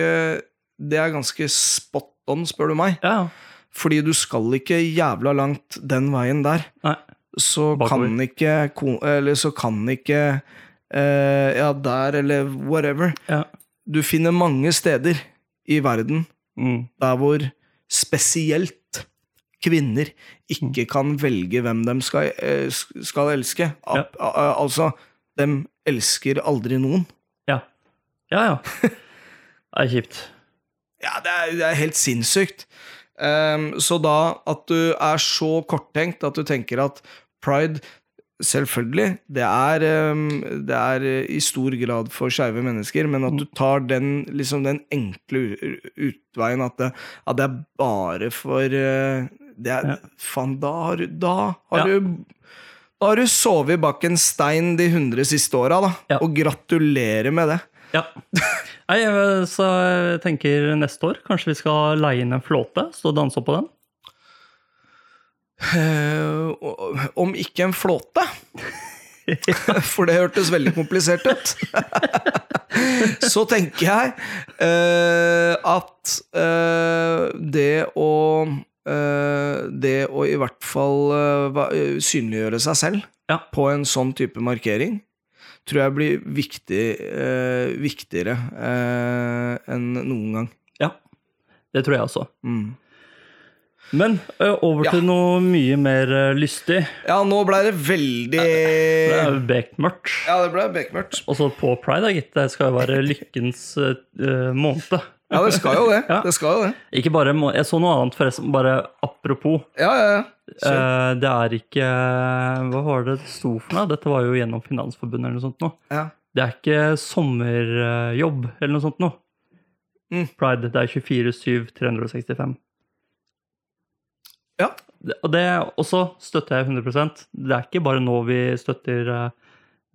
[SPEAKER 1] Det er ganske spot on, spør du meg.
[SPEAKER 2] Ja, ja.
[SPEAKER 1] Fordi du skal ikke jævla langt den veien der.
[SPEAKER 2] Nei.
[SPEAKER 1] Så
[SPEAKER 2] Bakover.
[SPEAKER 1] kan ikke ko- Eller så kan ikke eh, Ja, der, eller whatever.
[SPEAKER 2] Ja.
[SPEAKER 1] Du finner mange steder i verden
[SPEAKER 2] Mm.
[SPEAKER 1] der hvor spesielt kvinner,
[SPEAKER 2] Mm.
[SPEAKER 1] ikke kan velge hvem de skal, eh, sk- skal elske. Al al- Altså, de elsker aldri noen.
[SPEAKER 2] Ja.
[SPEAKER 1] [laughs]
[SPEAKER 2] Ja, ja. Det er kjipt.
[SPEAKER 1] Ja, det er, det er helt sinnssykt. Ehm, så da at du er så korttenkt at du tenker at pride Selvfølgelig. Det er, ehm, det er eh, i stor grad for skeive mennesker, men at du tar den, liksom den enkle u- utveien at det, at det er bare for eh, det er,
[SPEAKER 2] Ja.
[SPEAKER 1] Faen, da har, du- da har
[SPEAKER 2] Ja.
[SPEAKER 1] du Da har du sovet bak en stein de hundre siste åra, da.
[SPEAKER 2] Ja.
[SPEAKER 1] Og gratulerer med det.
[SPEAKER 2] Ja. Nei, jeg- så jeg tenker neste år kanskje vi skal leie inn en flåte, stå og danse opp på den.
[SPEAKER 1] Eh, og- om ikke en flåte. For det hørtes veldig komplisert ut. Så tenker jeg eh, at eh, det å eh, Det å i hvert fall eh, va- eh, synliggjøre seg selv
[SPEAKER 2] Ja.
[SPEAKER 1] på en sånn type markering, tror jeg blir viktig, eh, viktigere eh, enn noen gang.
[SPEAKER 2] Ja. Det tror jeg også.
[SPEAKER 1] Mm.
[SPEAKER 2] Men ø, over
[SPEAKER 1] Ja.
[SPEAKER 2] til noe mye mer ø, lystig.
[SPEAKER 1] Ja, nå ble det veldig
[SPEAKER 2] Det er
[SPEAKER 1] Eh.
[SPEAKER 2] jo bekmørkt.
[SPEAKER 1] Ja, det ble bekmørkt.
[SPEAKER 2] Og så på pride, da, gitt. Det skal jo være lykkens ø, måned.
[SPEAKER 1] Ja, det skal jo det.
[SPEAKER 2] Ja.
[SPEAKER 1] Det skal jo det.
[SPEAKER 2] Ikke bare må Jeg så noe annet, forresten. Bare apropos.
[SPEAKER 1] Ja, ja, ja. Kjør.
[SPEAKER 2] Eh, det er ikke Hva var det det sto for noe? Dette var jo gjennom Finansforbundet eller noe sånt. Nå.
[SPEAKER 1] ja.
[SPEAKER 2] Det er ikke sommerjobb eller noe sånt nå.
[SPEAKER 1] Mm.
[SPEAKER 2] Pride. Det er 24-7, 365.
[SPEAKER 1] Ja.
[SPEAKER 2] Det- Og det også støtter jeg 100 Det er ikke bare nå vi støtter eh,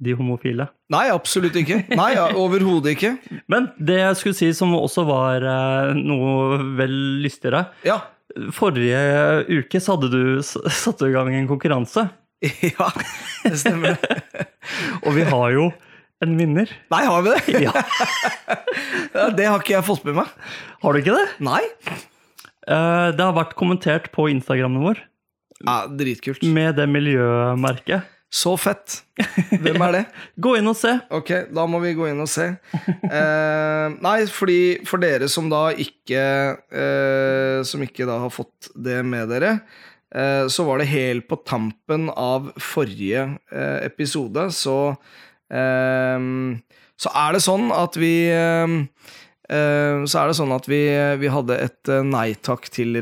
[SPEAKER 2] de homofile.
[SPEAKER 1] Nei, absolutt ikke. Nei, ja, Overhodet ikke.
[SPEAKER 2] Men det jeg skulle si som også var eh, noe vel lystigere
[SPEAKER 1] Ja. [laughs]
[SPEAKER 2] Forrige uke så hadde du s- [laughs] satte du i gang en konkurranse.
[SPEAKER 1] ja, det stemmer. det.
[SPEAKER 2] Og vi har jo en vinner.
[SPEAKER 1] Nei, har vi det?
[SPEAKER 2] Ja,
[SPEAKER 1] [laughs] Ja, det har ikke jeg fått med meg.
[SPEAKER 2] Har du ikke det?
[SPEAKER 1] Nei?
[SPEAKER 2] Eh, Det har vært kommentert på Instagrammen vår
[SPEAKER 1] Ja, Dritkult.
[SPEAKER 2] med det miljømerket.
[SPEAKER 1] Så fett. Hvem er det?
[SPEAKER 2] Gå inn og se.
[SPEAKER 1] Ok, da må vi gå inn og se. Eh, nei, fordi for dere som da ikke eh, Som ikke da har fått det med dere, eh, så var det helt på tampen av forrige eh, episode, så eh, Så er det sånn at vi eh, eh, så er det sånn at vi, vi hadde et eh, nei takk til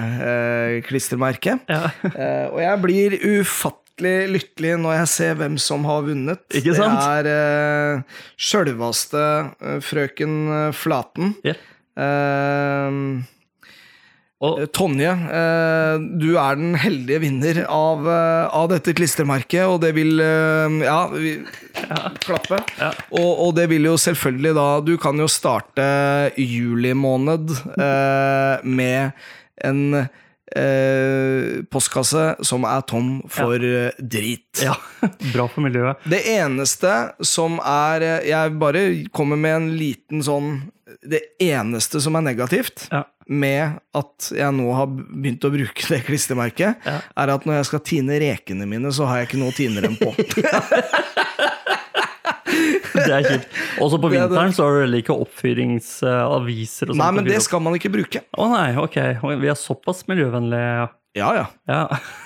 [SPEAKER 1] eh, reklame-klistremerke.
[SPEAKER 2] Ja.
[SPEAKER 1] [laughs] Eh, og jeg blir ufattelig lykkelig når jeg ser hvem som har vunnet.
[SPEAKER 2] Ikke sant?
[SPEAKER 1] Det er uh, sjølveste eh, frøken eh, Flaten.
[SPEAKER 2] Ja.
[SPEAKER 1] Eh,
[SPEAKER 2] Og,
[SPEAKER 1] Tonje, eh, du er den heldige vinner av, eh, av dette klistremerket, og det vil eh, Ja, vi klappe.
[SPEAKER 2] Ja.
[SPEAKER 1] Og, og det vil jo selvfølgelig da Du kan jo starte juli måned eh, med en eh, postkasse som er tom for eh, drit.
[SPEAKER 2] [laughs] ja. Bra for miljøet.
[SPEAKER 1] Det eneste som er eh, Jeg bare kommer med en liten sånn Det eneste som er negativt
[SPEAKER 2] Ja. [laughs]
[SPEAKER 1] med at jeg nå har begynt å bruke det klistremerket,
[SPEAKER 2] Ja.
[SPEAKER 1] er at når jeg skal tine rekene mine, så har jeg ikke noe å tine dem
[SPEAKER 2] [laughs]
[SPEAKER 1] på.
[SPEAKER 2] Det er kjipt. Også på
[SPEAKER 1] Det er det.
[SPEAKER 2] vinteren så har du heller ikke oppfyringsaviser og sånt.
[SPEAKER 1] Nei,
[SPEAKER 2] å
[SPEAKER 1] men
[SPEAKER 2] fyre
[SPEAKER 1] det
[SPEAKER 2] opp.
[SPEAKER 1] skal man ikke bruke.
[SPEAKER 2] Å nei, ok. Vi er såpass miljøvennlige.
[SPEAKER 1] Ja, ja.
[SPEAKER 2] Ja.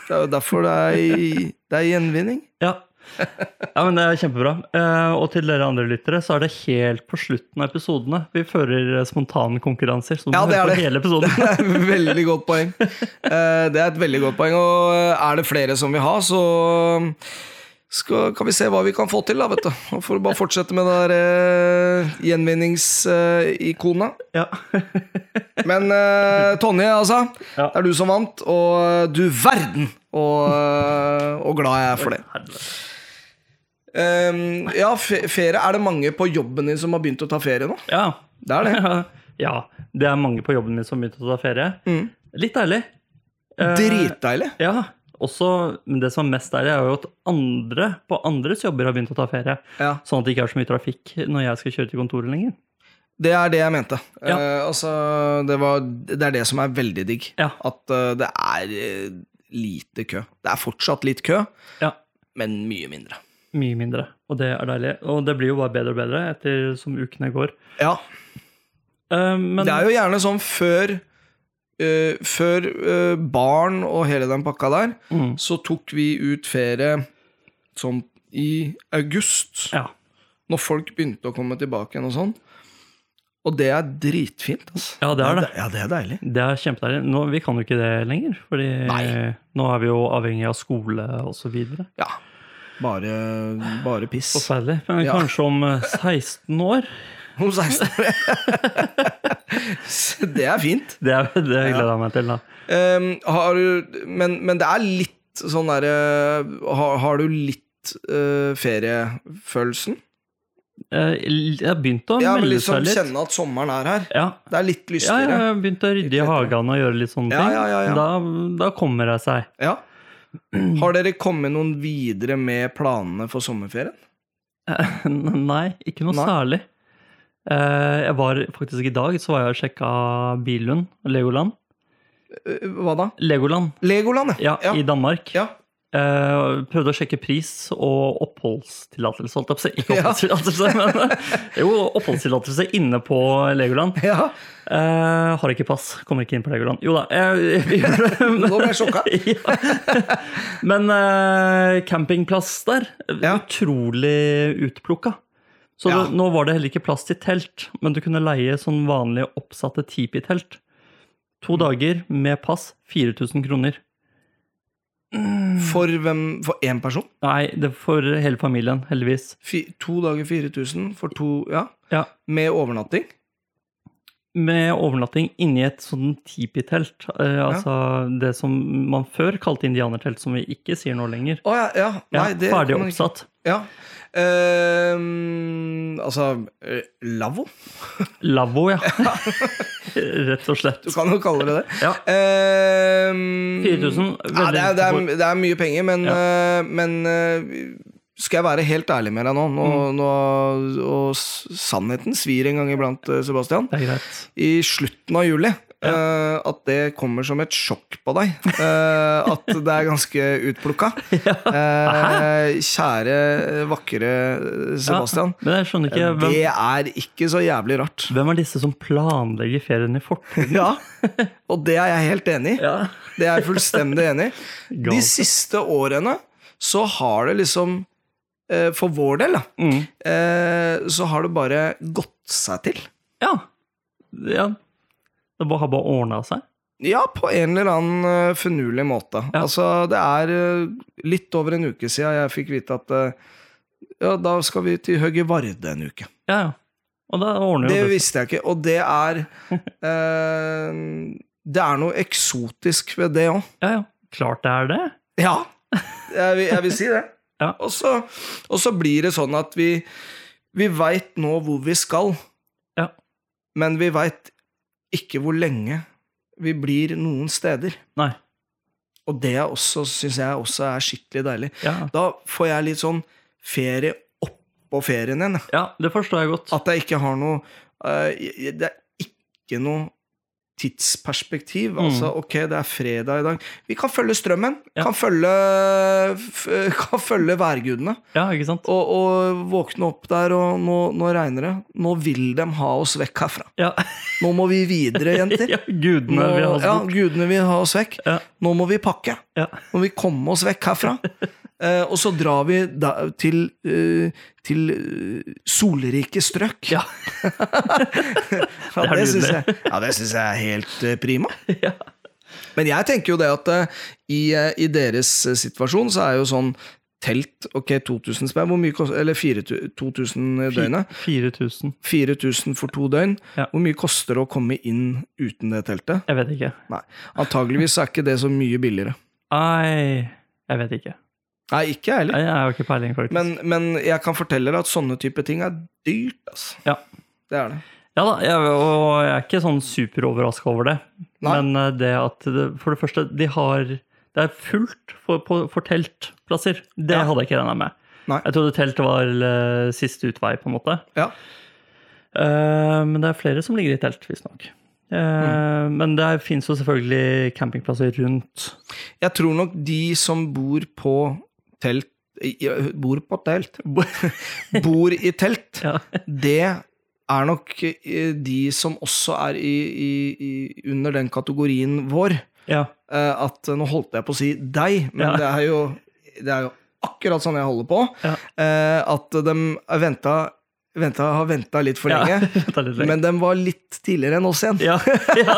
[SPEAKER 1] Det er jo derfor det er, i- det er gjenvinning.
[SPEAKER 2] ja. Ja, men Det er kjempebra. Eh, Og til dere andre lyttere, så er det helt på slutten av episodene. Vi fører eh, spontane konkurranser, så du
[SPEAKER 1] Ja,
[SPEAKER 2] må
[SPEAKER 1] det er
[SPEAKER 2] høre på
[SPEAKER 1] det.
[SPEAKER 2] hele
[SPEAKER 1] [laughs]
[SPEAKER 2] episoden.
[SPEAKER 1] Veldig godt poeng. Eh, Det er et veldig godt poeng, og eh, er det flere som vil ha, så skal, kan vi se hva vi kan få til, da, vet du. Og får bare fortsette med det der uh, gjenvinningsikonet.
[SPEAKER 2] Ja.
[SPEAKER 1] Men eh, Tonje, altså.
[SPEAKER 2] Ja.
[SPEAKER 1] Det er du som vant, og eh, du verden! Og, eh, og glad jeg er for det.
[SPEAKER 2] Helvete.
[SPEAKER 1] Ehm, ja, fe- ferie. Er det mange på jobben din som har begynt å ta ferie nå?
[SPEAKER 2] Ja. [laughs]
[SPEAKER 1] Det er det.
[SPEAKER 2] ja. Det er mange på jobben min som begynte å ta ferie.
[SPEAKER 1] Mm.
[SPEAKER 2] Litt deilig. Eh,
[SPEAKER 1] Dritdeilig.
[SPEAKER 2] Ja. Også, men det som er mest deilig, er jo at andre på andres jobber har begynt å ta ferie.
[SPEAKER 1] Ja.
[SPEAKER 2] Sånn at det ikke er så mye trafikk når jeg skal kjøre til kontoret lenger.
[SPEAKER 1] Det er det jeg mente.
[SPEAKER 2] Ja.
[SPEAKER 1] Eh, altså, det, var, det er det som er veldig digg.
[SPEAKER 2] Ja.
[SPEAKER 1] At eh, det er eh, lite kø. Det er fortsatt litt kø,
[SPEAKER 2] Ja,
[SPEAKER 1] men mye mindre.
[SPEAKER 2] Mye mindre, og det er deilig. Og det blir jo bare bedre og bedre etter som ukene går.
[SPEAKER 1] Ja,
[SPEAKER 2] Eh, men
[SPEAKER 1] Det er jo gjerne sånn før eh, Før eh, barn og hele den pakka der,
[SPEAKER 2] Mm.
[SPEAKER 1] så tok vi ut ferie som i august,
[SPEAKER 2] Ja.
[SPEAKER 1] når folk begynte å komme tilbake igjen og sånn. Og det er dritfint, altså.
[SPEAKER 2] ja, det er det.
[SPEAKER 1] Ja, det er deilig.
[SPEAKER 2] Det er kjempedeilig. Nå, vi kan jo ikke det lenger, fordi
[SPEAKER 1] Nei.
[SPEAKER 2] nå er vi jo avhengig av skole osv.
[SPEAKER 1] Ja. Bare, bare piss.
[SPEAKER 2] Forferdelig. Men
[SPEAKER 1] Ja.
[SPEAKER 2] kanskje om eh, 16 år?
[SPEAKER 1] Om 16 Så Det er fint.
[SPEAKER 2] Det, er, [laughs] det gleder jeg meg til, da.
[SPEAKER 1] Ehm, har du, men, men det er litt sånn derre har, har du litt eh, feriefølelsen?
[SPEAKER 2] Eh, Jeg har begynt å
[SPEAKER 1] Ja, men
[SPEAKER 2] melde
[SPEAKER 1] liksom
[SPEAKER 2] seg litt.
[SPEAKER 1] kjenne at sommeren er her.
[SPEAKER 2] Ja.
[SPEAKER 1] Det er litt
[SPEAKER 2] Ja, jeg
[SPEAKER 1] lystigere.
[SPEAKER 2] har begynt å rydde i hagen og gjøre litt sånne
[SPEAKER 1] Ja,
[SPEAKER 2] ting.
[SPEAKER 1] ja, ja, ja.
[SPEAKER 2] Da, da kommer det seg. [laughs]
[SPEAKER 1] Ja. Har dere kommet noen videre med planene for sommerferien?
[SPEAKER 2] Nei, ikke noe
[SPEAKER 1] Nei.
[SPEAKER 2] særlig. Eh, Jeg var faktisk i dag, så var jeg og sjekka Billund, Legoland.
[SPEAKER 1] Eh, Hva da?
[SPEAKER 2] Legoland,
[SPEAKER 1] Legoland,
[SPEAKER 2] ja,
[SPEAKER 1] Ja.
[SPEAKER 2] i Danmark.
[SPEAKER 1] ja.
[SPEAKER 2] Eh, prøvde å sjekke pris og oppholdstillatelse, holdt jeg på å si. Ikke
[SPEAKER 1] Ja.
[SPEAKER 2] oppholdstillatelse, men eh, jo, oppholdstillatelse inne på Legoland.
[SPEAKER 1] ja.
[SPEAKER 2] Eh, har ikke pass, kommer ikke inn på Legoland. Jo da. eh, [laughs] vi gjør det, men-
[SPEAKER 1] Nå ble jeg sjokka.
[SPEAKER 2] ja. Men eh, campingplass der,
[SPEAKER 1] Ja.
[SPEAKER 2] utrolig utplukka. Så
[SPEAKER 1] Ja.
[SPEAKER 2] det, nå var det heller ikke plass til telt, men du kunne leie sånn vanlige oppsatte tipi-telt.
[SPEAKER 1] Mm.
[SPEAKER 2] To dager med pass, 4000 kroner.
[SPEAKER 1] For hvem? For én person?
[SPEAKER 2] Nei, det er for hele familien, heldigvis.
[SPEAKER 1] Fi, to dager 4000 for to Ja.
[SPEAKER 2] Ja.
[SPEAKER 1] Med overnatting?
[SPEAKER 2] Med overnatting inni et sånn tipi-telt. Eh, altså det som man før kalte indianertelt, som vi ikke sier nå lenger.
[SPEAKER 1] Å ja, ja.
[SPEAKER 2] Ja,
[SPEAKER 1] Nei, det
[SPEAKER 2] ferdig
[SPEAKER 1] kan man ikke-
[SPEAKER 2] oppsatt.
[SPEAKER 1] Ja. Ehm, altså eh, lavvo?
[SPEAKER 2] Lavvo,
[SPEAKER 1] [laughs]
[SPEAKER 2] ja. Rett og slett.
[SPEAKER 1] Du kan jo kalle det det.
[SPEAKER 2] Ja.
[SPEAKER 1] Ehm,
[SPEAKER 2] 4000.
[SPEAKER 1] Ja, det, er, det,
[SPEAKER 2] veldig-
[SPEAKER 1] er, det er mye penger, men, eh, men eh, skal jeg være helt ærlig med deg nå, nå,
[SPEAKER 2] Mm.
[SPEAKER 1] nå og s- sannheten svir en gang iblant, eh, Sebastian,
[SPEAKER 2] det er greit.
[SPEAKER 1] i slutten av juli eh, at det kommer som et sjokk på deg. eh, at det er ganske utplukka.
[SPEAKER 2] [laughs]
[SPEAKER 1] Eh, kjære, vakre Sebastian.
[SPEAKER 2] Ja, men jeg skjønner ikke hvem,
[SPEAKER 1] Eh, Det er ikke så jævlig
[SPEAKER 2] [laughs]
[SPEAKER 1] rart.
[SPEAKER 2] hvem er disse som planlegger ferien i fortiden?
[SPEAKER 1] Ja, og det er jeg helt enig i.
[SPEAKER 2] Ja.
[SPEAKER 1] Det er jeg fullstendig enig i. De
[SPEAKER 2] [laughs] Galt.
[SPEAKER 1] siste årene så har det liksom eh, For vår del, da,
[SPEAKER 2] Mm.
[SPEAKER 1] eh, så har det bare gått seg til.
[SPEAKER 2] ja. ja. Det bare- har bare ordna seg.
[SPEAKER 1] Ja, på en eller annen eh, finurlig måte.
[SPEAKER 2] Ja.
[SPEAKER 1] Altså, det er eh, litt over en uke siden jeg fikk vite at eh, ja, da skal vi til Høgge Varde en uke.
[SPEAKER 2] Ja, ja. Og da ordner
[SPEAKER 1] Det
[SPEAKER 2] jo det.
[SPEAKER 1] visste jeg ikke, og det er
[SPEAKER 2] [laughs]
[SPEAKER 1] eh, Det er noe eksotisk ved det òg.
[SPEAKER 2] Ja, ja. Klart det er det.
[SPEAKER 1] Ja, jeg vil, jeg vil si det.
[SPEAKER 2] [laughs] Ja.
[SPEAKER 1] Og, så, og så blir det sånn at vi, vi veit nå hvor vi skal,
[SPEAKER 2] Ja.
[SPEAKER 1] men vi veit ikke hvor lenge vi blir noen steder.
[SPEAKER 2] Nei.
[SPEAKER 1] Og det er også, syns jeg også er skikkelig deilig.
[SPEAKER 2] Ja.
[SPEAKER 1] Da får jeg litt sånn ferie oppå ferien igjen. jeg.
[SPEAKER 2] ja, det forstår jeg godt.
[SPEAKER 1] At jeg ikke har noe eh, jeg- Det er ikke noe tidsperspektiv.
[SPEAKER 2] Mm.
[SPEAKER 1] Altså, ok, det er fredag i dag. Vi kan følge strømmen.
[SPEAKER 2] Ja.
[SPEAKER 1] Kan, følge, f [laughs] kan følge værgudene.
[SPEAKER 2] Ja, ikke sant?
[SPEAKER 1] Og, og våkne opp der, og nå, nå regner det. Nå vil de ha oss vekk herfra.
[SPEAKER 2] Ja,
[SPEAKER 1] Nå må vi
[SPEAKER 2] [laughs]
[SPEAKER 1] videre, jenter.
[SPEAKER 2] ja gudene
[SPEAKER 1] Nå,
[SPEAKER 2] vil ha oss
[SPEAKER 1] ja,
[SPEAKER 2] bort.
[SPEAKER 1] gudene vil ha oss vekk.
[SPEAKER 2] Ja.
[SPEAKER 1] Nå må vi pakke.
[SPEAKER 2] Ja. [laughs]
[SPEAKER 1] Nå må vi komme oss vekk herfra. Eh, og så drar vi da, til, eh, til eh, solrike strøk. [laughs]
[SPEAKER 2] Ja.
[SPEAKER 1] Ja,
[SPEAKER 2] Det er
[SPEAKER 1] det
[SPEAKER 2] nydelig.
[SPEAKER 1] syns jeg, ja, det synes jeg er helt eh, prima.
[SPEAKER 2] Ja.
[SPEAKER 1] Men jeg tenker jo det at eh, i, eh, i deres eh, situasjon så er jo sånn telt Ok, 2000 spenn, hvor mye koster Eller 4000 2000
[SPEAKER 2] Fi-
[SPEAKER 1] døgnet.
[SPEAKER 2] 4000.
[SPEAKER 1] 4000 for to døgn.
[SPEAKER 2] Ja.
[SPEAKER 1] Hvor mye koster det å komme inn uten det teltet?
[SPEAKER 2] Jeg vet ikke.
[SPEAKER 1] Nei. Antageligvis er ikke det så mye billigere.
[SPEAKER 2] Nei, jeg vet ikke.
[SPEAKER 1] Nei, ikke jeg heller.
[SPEAKER 2] Nei, Jeg har jo ikke peiling, faktisk.
[SPEAKER 1] Men, men jeg kan fortelle deg at sånne type ting er dyrt, altså.
[SPEAKER 2] Ja.
[SPEAKER 1] Det er det.
[SPEAKER 2] Ja da, jeg, og jeg er ikke sånn superoverraska over det.
[SPEAKER 1] Nei.
[SPEAKER 2] Men eh, det at det, For det første, de har Det er fullt for, på, for teltplasser. Det
[SPEAKER 1] Ja.
[SPEAKER 2] hadde jeg ikke regna med.
[SPEAKER 1] Nei.
[SPEAKER 2] Jeg trodde telt var eh, siste utvei, på en måte.
[SPEAKER 1] Ja.
[SPEAKER 2] Eh, men det er flere som ligger i telt, visstnok. Uh,
[SPEAKER 1] Mm.
[SPEAKER 2] Men det fins jo selvfølgelig campingplasser rundt.
[SPEAKER 1] Jeg tror nok de som bor på telt [laughs] i- i- Bor på telt? Bor i telt.
[SPEAKER 2] Ja.
[SPEAKER 1] Det er nok eh, de som også er i, i, i, under den kategorien vår.
[SPEAKER 2] Ja.
[SPEAKER 1] eh, at eh, nå holdt jeg på å si deg, men
[SPEAKER 2] Ja.
[SPEAKER 1] det, er jo, det er jo akkurat sånn jeg holder på.
[SPEAKER 2] Ja.
[SPEAKER 1] Eh, at de er venta, venta, har venta litt for
[SPEAKER 2] Ja, [laughs]
[SPEAKER 1] lenge,
[SPEAKER 2] det er litt lenge.
[SPEAKER 1] men de var litt tidligere enn oss igjen.
[SPEAKER 2] Ja, ja.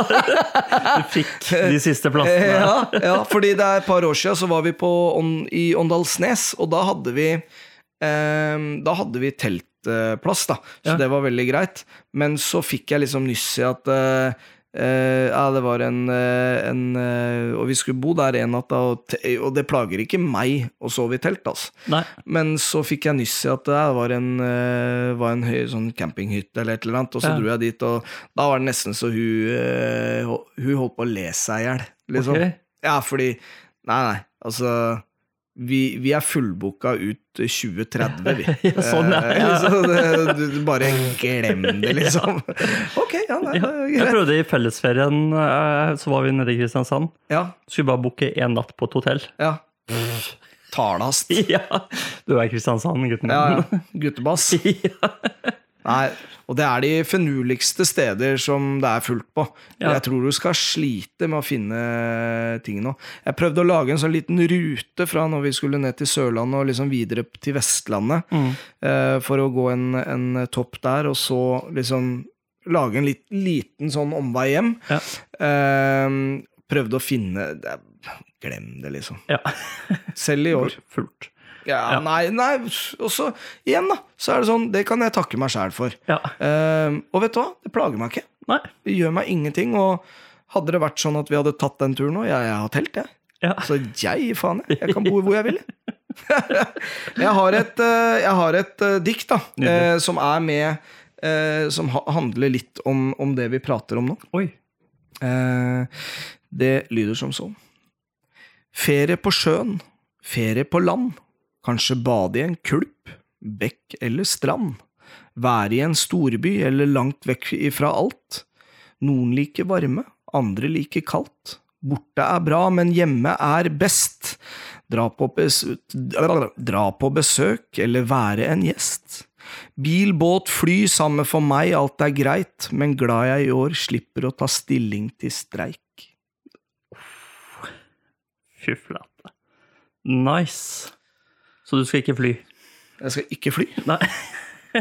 [SPEAKER 2] Du fikk de siste
[SPEAKER 1] Eh,
[SPEAKER 2] plassene.
[SPEAKER 1] [laughs] Ja, ja, fordi det er et par år siden så var vi på, Ånd- i Åndalsnes, og da hadde vi eh, Da hadde vi teltplass, da, så
[SPEAKER 2] Ja.
[SPEAKER 1] det var veldig greit. Men så fikk jeg liksom nyss i at eh, eh, ja, det var en, eh, en eh, Og vi skulle bo der en natt, da, og, te- og det plager ikke meg å sove i telt, altså.
[SPEAKER 2] Nei.
[SPEAKER 1] Men så fikk jeg nyss i at det var en, eh, var en høy, sånn campinghytte eller et eller annet, og så
[SPEAKER 2] Ja.
[SPEAKER 1] dro jeg dit, og da var det nesten så hun, eh, hol- hun holdt på å le seg i hjel, liksom.
[SPEAKER 2] Ok.
[SPEAKER 1] Ja, fordi Nei, nei, altså vi, vi er fullbooka ut 2030, vi.
[SPEAKER 2] [laughs] Ja, sånn, ja.
[SPEAKER 1] Eh, så det, du, du bare glem
[SPEAKER 2] [laughs]
[SPEAKER 1] det, liksom. Ok, ja, nei, det er
[SPEAKER 2] Jeg
[SPEAKER 1] greit.
[SPEAKER 2] prøvde i fellesferien, eh, så var vi nede i Kristiansand.
[SPEAKER 1] Ja,
[SPEAKER 2] Skulle bare booke én natt på et hotell. [laughs]
[SPEAKER 1] ja. Talast.
[SPEAKER 2] Ja, du er i Kristiansand, gutten
[SPEAKER 1] Ja,
[SPEAKER 2] min.
[SPEAKER 1] ja. Guttebass.
[SPEAKER 2] [laughs] Ja.
[SPEAKER 1] Nei, og det er de finurligste steder som det er fullt på.
[SPEAKER 2] Ja.
[SPEAKER 1] Jeg tror du skal slite med å finne ting nå. Jeg prøvde å lage en sånn liten rute fra når vi skulle ned til Sørlandet og liksom videre til Vestlandet,
[SPEAKER 2] Mm.
[SPEAKER 1] eh, for å gå en, en topp der, og så liksom lage en lit, liten sånn omvei hjem.
[SPEAKER 2] Ja.
[SPEAKER 1] Eh, prøvde å finne det, er- Glem det, liksom.
[SPEAKER 2] Ja.
[SPEAKER 1] Selv i år.
[SPEAKER 2] Fullt.
[SPEAKER 1] Ja, Nei, nei, og så igjen, da. Så er det sånn, det kan jeg takke meg sjæl for.
[SPEAKER 2] Ja.
[SPEAKER 1] Ehm, og vet du hva? Det plager meg ikke.
[SPEAKER 2] Nei.
[SPEAKER 1] Det gjør meg ingenting. Og hadde det vært sånn at vi hadde tatt den turen nå Jeg, jeg har telt, jeg.
[SPEAKER 2] Ja.
[SPEAKER 1] Så jeg gir faen, jeg. Jeg kan bo hvor jeg vil. jeg. [laughs] jeg har et, eh, jeg har et eh, dikt da,
[SPEAKER 2] Nydelig.
[SPEAKER 1] eh, som er med eh, Som ha- handler litt om, om det vi prater om nå.
[SPEAKER 2] Oi.
[SPEAKER 1] Eh, det lyder som sånn. Ferie på sjøen, ferie på land, kanskje bade i en kulp, bekk eller strand, være i en storby eller langt vekk ifra alt. Noen liker varme, andre liker kaldt. Borte er bra, men hjemme er best. Dra på, bes dra på besøk eller være en gjest. Bil, båt, fly, samme for meg, alt er greit, men glad jeg i år slipper å ta stilling til streik.
[SPEAKER 2] Fy flate. Nice. Så du skal ikke fly?
[SPEAKER 1] Jeg skal ikke fly.
[SPEAKER 2] Nei.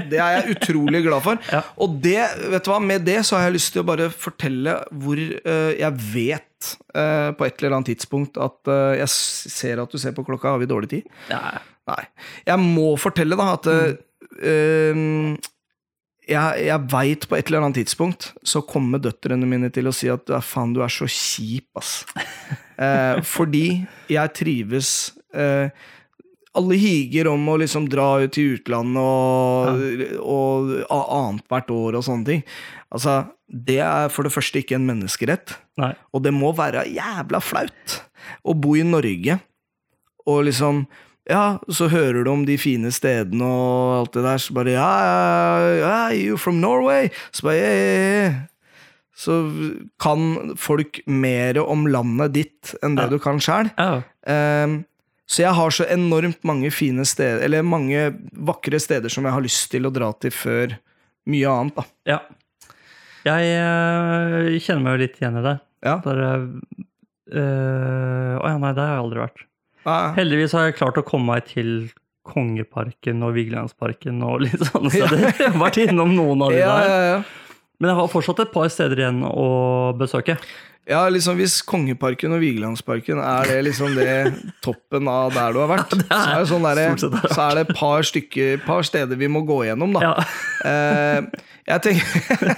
[SPEAKER 1] Det er jeg utrolig glad for.
[SPEAKER 2] Ja.
[SPEAKER 1] Og det, vet du hva, med det så har jeg lyst til å bare fortelle hvor eh, jeg vet eh, på et eller annet tidspunkt at eh, jeg s- ser at du ser på klokka, har vi dårlig tid?
[SPEAKER 2] [laughs] Nei.
[SPEAKER 1] Nei. Jeg må fortelle, da, at eh, jeg, jeg veit på et eller annet tidspunkt så kommer døtrene mine til å si at «Ja, faen, du er så kjip, ass. Eh, fordi jeg trives eh, Alle higer om å liksom dra ut til utlandet og, og, a- annethvert år og sånne ting. Altså, det er for det første ikke en menneskerett.
[SPEAKER 2] Nei.
[SPEAKER 1] Og det må være jævla flaut å bo i Norge og liksom ja, så hører du om de fine stedene og alt det der, så bare ja, ja, ja, you from Norway? Så bare ja, ja, ja, ja. Så kan folk mer om landet ditt enn det du kan sjæl.
[SPEAKER 2] Ja.
[SPEAKER 1] Ehm, så jeg har så enormt mange fine steder, eller mange vakre steder som jeg har lyst til å dra til før mye annet, da.
[SPEAKER 2] ja. Jeg eh, kjenner meg jo litt igjen i det.
[SPEAKER 1] Ja.
[SPEAKER 2] Der, eh, eh, å ja, nei, der har jeg aldri vært.
[SPEAKER 1] Nei,
[SPEAKER 2] Heldigvis har jeg klart å komme meg til Kongeparken og Vigelandsparken og litt [laughs] sånne
[SPEAKER 1] Ja.
[SPEAKER 2] steder. Jeg har vært innom noen av de
[SPEAKER 1] Ja,
[SPEAKER 2] der.
[SPEAKER 1] ja, ja.
[SPEAKER 2] Men jeg har fortsatt et par steder igjen å besøke.
[SPEAKER 1] ja, liksom hvis Kongeparken og Vigelandsparken er det liksom det toppen av der du har vært,
[SPEAKER 2] [laughs]
[SPEAKER 1] så er det, sånn derre-
[SPEAKER 2] stort sett det har vært.
[SPEAKER 1] så er det et par, stykker- par steder vi må gå gjennom, da.
[SPEAKER 2] Ja.
[SPEAKER 1] Eh, jeg tenker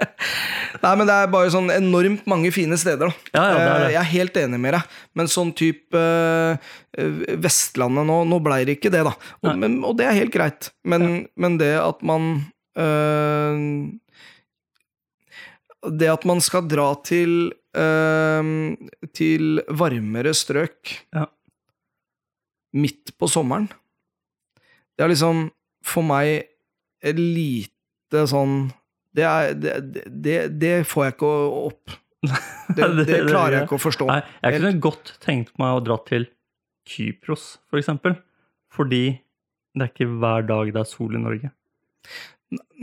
[SPEAKER 1] [laughs] Nei, men det er bare sånn enormt mange fine steder, da.
[SPEAKER 2] Ja, ja, det er det.
[SPEAKER 1] Eh, Jeg er helt enig med deg, men sånn type eh, Vestlandet nå Nå blei det ikke det, da. Og, men, og det er helt greit, men, men det at man eh, Det at man skal dra til eh, Til varmere strøk
[SPEAKER 2] Ja.
[SPEAKER 1] midt på sommeren Det er liksom for meg et lite sånn det, er, det, det- det, det får jeg ikke
[SPEAKER 2] [laughs]
[SPEAKER 1] opp. Det,
[SPEAKER 2] Nei, det-
[SPEAKER 1] det
[SPEAKER 2] det-
[SPEAKER 1] klarer jeg ikke å forstå.
[SPEAKER 2] Nei, jeg kunne godt tenkt meg å dra til Kypros, for eksempel. Fordi det er ikke hver dag det er sol i Norge.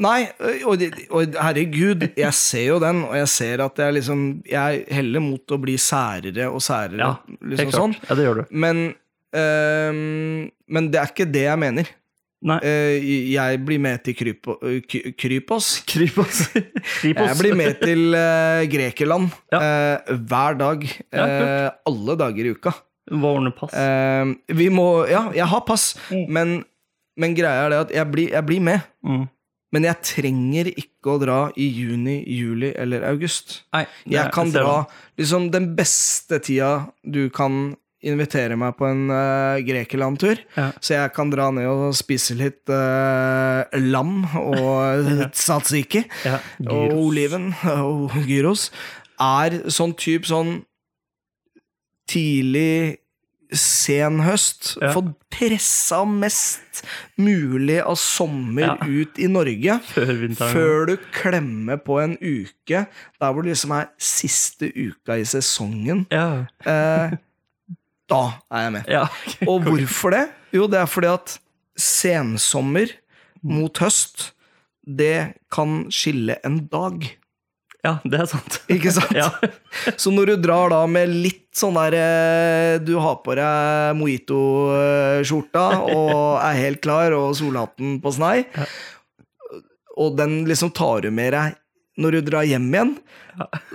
[SPEAKER 1] Nei, og, og herregud, jeg ser jo den, og jeg ser at jeg liksom Jeg heller mot å bli særere og særere,
[SPEAKER 2] Ja, helt
[SPEAKER 1] liksom
[SPEAKER 2] klart.
[SPEAKER 1] sånn.
[SPEAKER 2] Ja, det gjør du.
[SPEAKER 1] Men, øhm, men det er ikke det jeg mener.
[SPEAKER 2] Nei.
[SPEAKER 1] Eh, jeg blir med til Krypo, Ky-
[SPEAKER 2] [laughs]
[SPEAKER 1] Krypos.
[SPEAKER 2] Kripos. Kripos.
[SPEAKER 1] Jeg blir
[SPEAKER 2] [laughs]
[SPEAKER 1] med til eh, Grekeland
[SPEAKER 2] Ja.
[SPEAKER 1] eh, hver dag.
[SPEAKER 2] Ja, kult.
[SPEAKER 1] eh, alle dager i uka.
[SPEAKER 2] Hva ordner pass?
[SPEAKER 1] Eh, vi må Ja, jeg har pass,
[SPEAKER 2] Mm.
[SPEAKER 1] men, men greia er det at jeg blir, jeg blir med.
[SPEAKER 2] Mm.
[SPEAKER 1] Men jeg trenger ikke å dra i juni, juli eller august.
[SPEAKER 2] Nei, det-
[SPEAKER 1] Jeg kan
[SPEAKER 2] ser
[SPEAKER 1] dra
[SPEAKER 2] den.
[SPEAKER 1] liksom den beste tida du kan invitere meg på en eh, Grekeland-tur.
[SPEAKER 2] Ja.
[SPEAKER 1] Så jeg kan dra ned og spise litt eh, lam
[SPEAKER 2] [laughs]
[SPEAKER 1] og tzatziki.
[SPEAKER 2] Ja.
[SPEAKER 1] Og
[SPEAKER 2] Gyros.
[SPEAKER 1] oliven og gyros er sånn type sånn tidlig sen høst.
[SPEAKER 2] Ja.
[SPEAKER 1] Få pressa mest mulig av sommer
[SPEAKER 2] Ja.
[SPEAKER 1] ut i Norge.
[SPEAKER 2] Før vinteren.
[SPEAKER 1] Før du klemmer på en uke der hvor det liksom er siste uka i sesongen.
[SPEAKER 2] Ja.
[SPEAKER 1] Eh, [laughs] da er
[SPEAKER 2] [laughs]
[SPEAKER 1] jeg med.
[SPEAKER 2] ja.
[SPEAKER 1] [laughs] Og hvorfor det? Jo, det er fordi at sensommer mot høst, det kan skille en dag.
[SPEAKER 2] ja, det er sant.
[SPEAKER 1] Ikke sant?
[SPEAKER 2] Ja.
[SPEAKER 1] Så når du drar da med litt sånn der eh, Du har på deg mojito-skjorta og er helt klar, og solhatten på snei, og den liksom tar du med deg når du drar hjem igjen,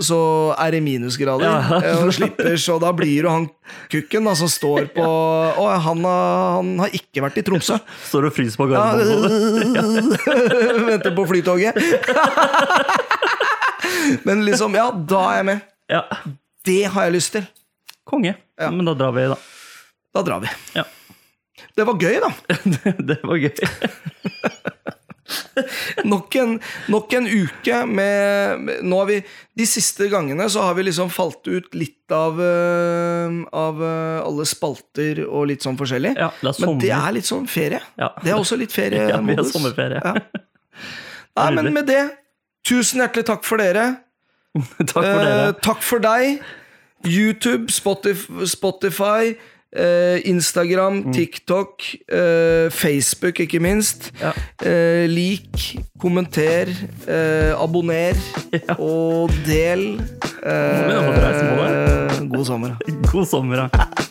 [SPEAKER 1] så er det minusgrader.
[SPEAKER 2] Ja.
[SPEAKER 1] eh, Og slipper, så da blir du han kukken da, som står på Å, han, har- han har ikke vært i Tromsø.
[SPEAKER 2] Står og fryser på
[SPEAKER 1] Ja, [laughs]
[SPEAKER 2] gardermoen.
[SPEAKER 1] Venter på flytoget. Men liksom, ja, da er jeg med.
[SPEAKER 2] Ja.
[SPEAKER 1] Det har jeg lyst til.
[SPEAKER 2] Konge. Men da drar vi, da. [laughs]
[SPEAKER 1] Da drar vi.
[SPEAKER 2] Ja.
[SPEAKER 1] Det var gøy, da.
[SPEAKER 2] Det var gøy.
[SPEAKER 1] Nok en, nok en uke med med- Nå har vi De siste gangene så har vi liksom falt ut litt av, øh, av øh, alle spalter og litt sånn forskjellig.
[SPEAKER 2] Ja, det er
[SPEAKER 1] men det
[SPEAKER 2] sommer.
[SPEAKER 1] er litt sånn ferie.
[SPEAKER 2] Ja.
[SPEAKER 1] Det er også litt
[SPEAKER 2] [laughs] Ja, vi har
[SPEAKER 1] feriemodus.
[SPEAKER 2] sommerferie.
[SPEAKER 1] Ja. Nei, men med det, tusen hjertelig takk for dere.
[SPEAKER 2] [laughs] Takk for dere.
[SPEAKER 1] Eh, takk for deg. YouTube, Spotif Spotify, eh, Instagram,
[SPEAKER 2] Mm.
[SPEAKER 1] TikTok, eh, Facebook, ikke minst.
[SPEAKER 2] Ja.
[SPEAKER 1] Eh, lik, kommenter, eh, abonner
[SPEAKER 2] [laughs] Ja.
[SPEAKER 1] og del. Eh,
[SPEAKER 2] begynner jeg å få dreisen på
[SPEAKER 1] god sommer. da.
[SPEAKER 2] God sommer, da.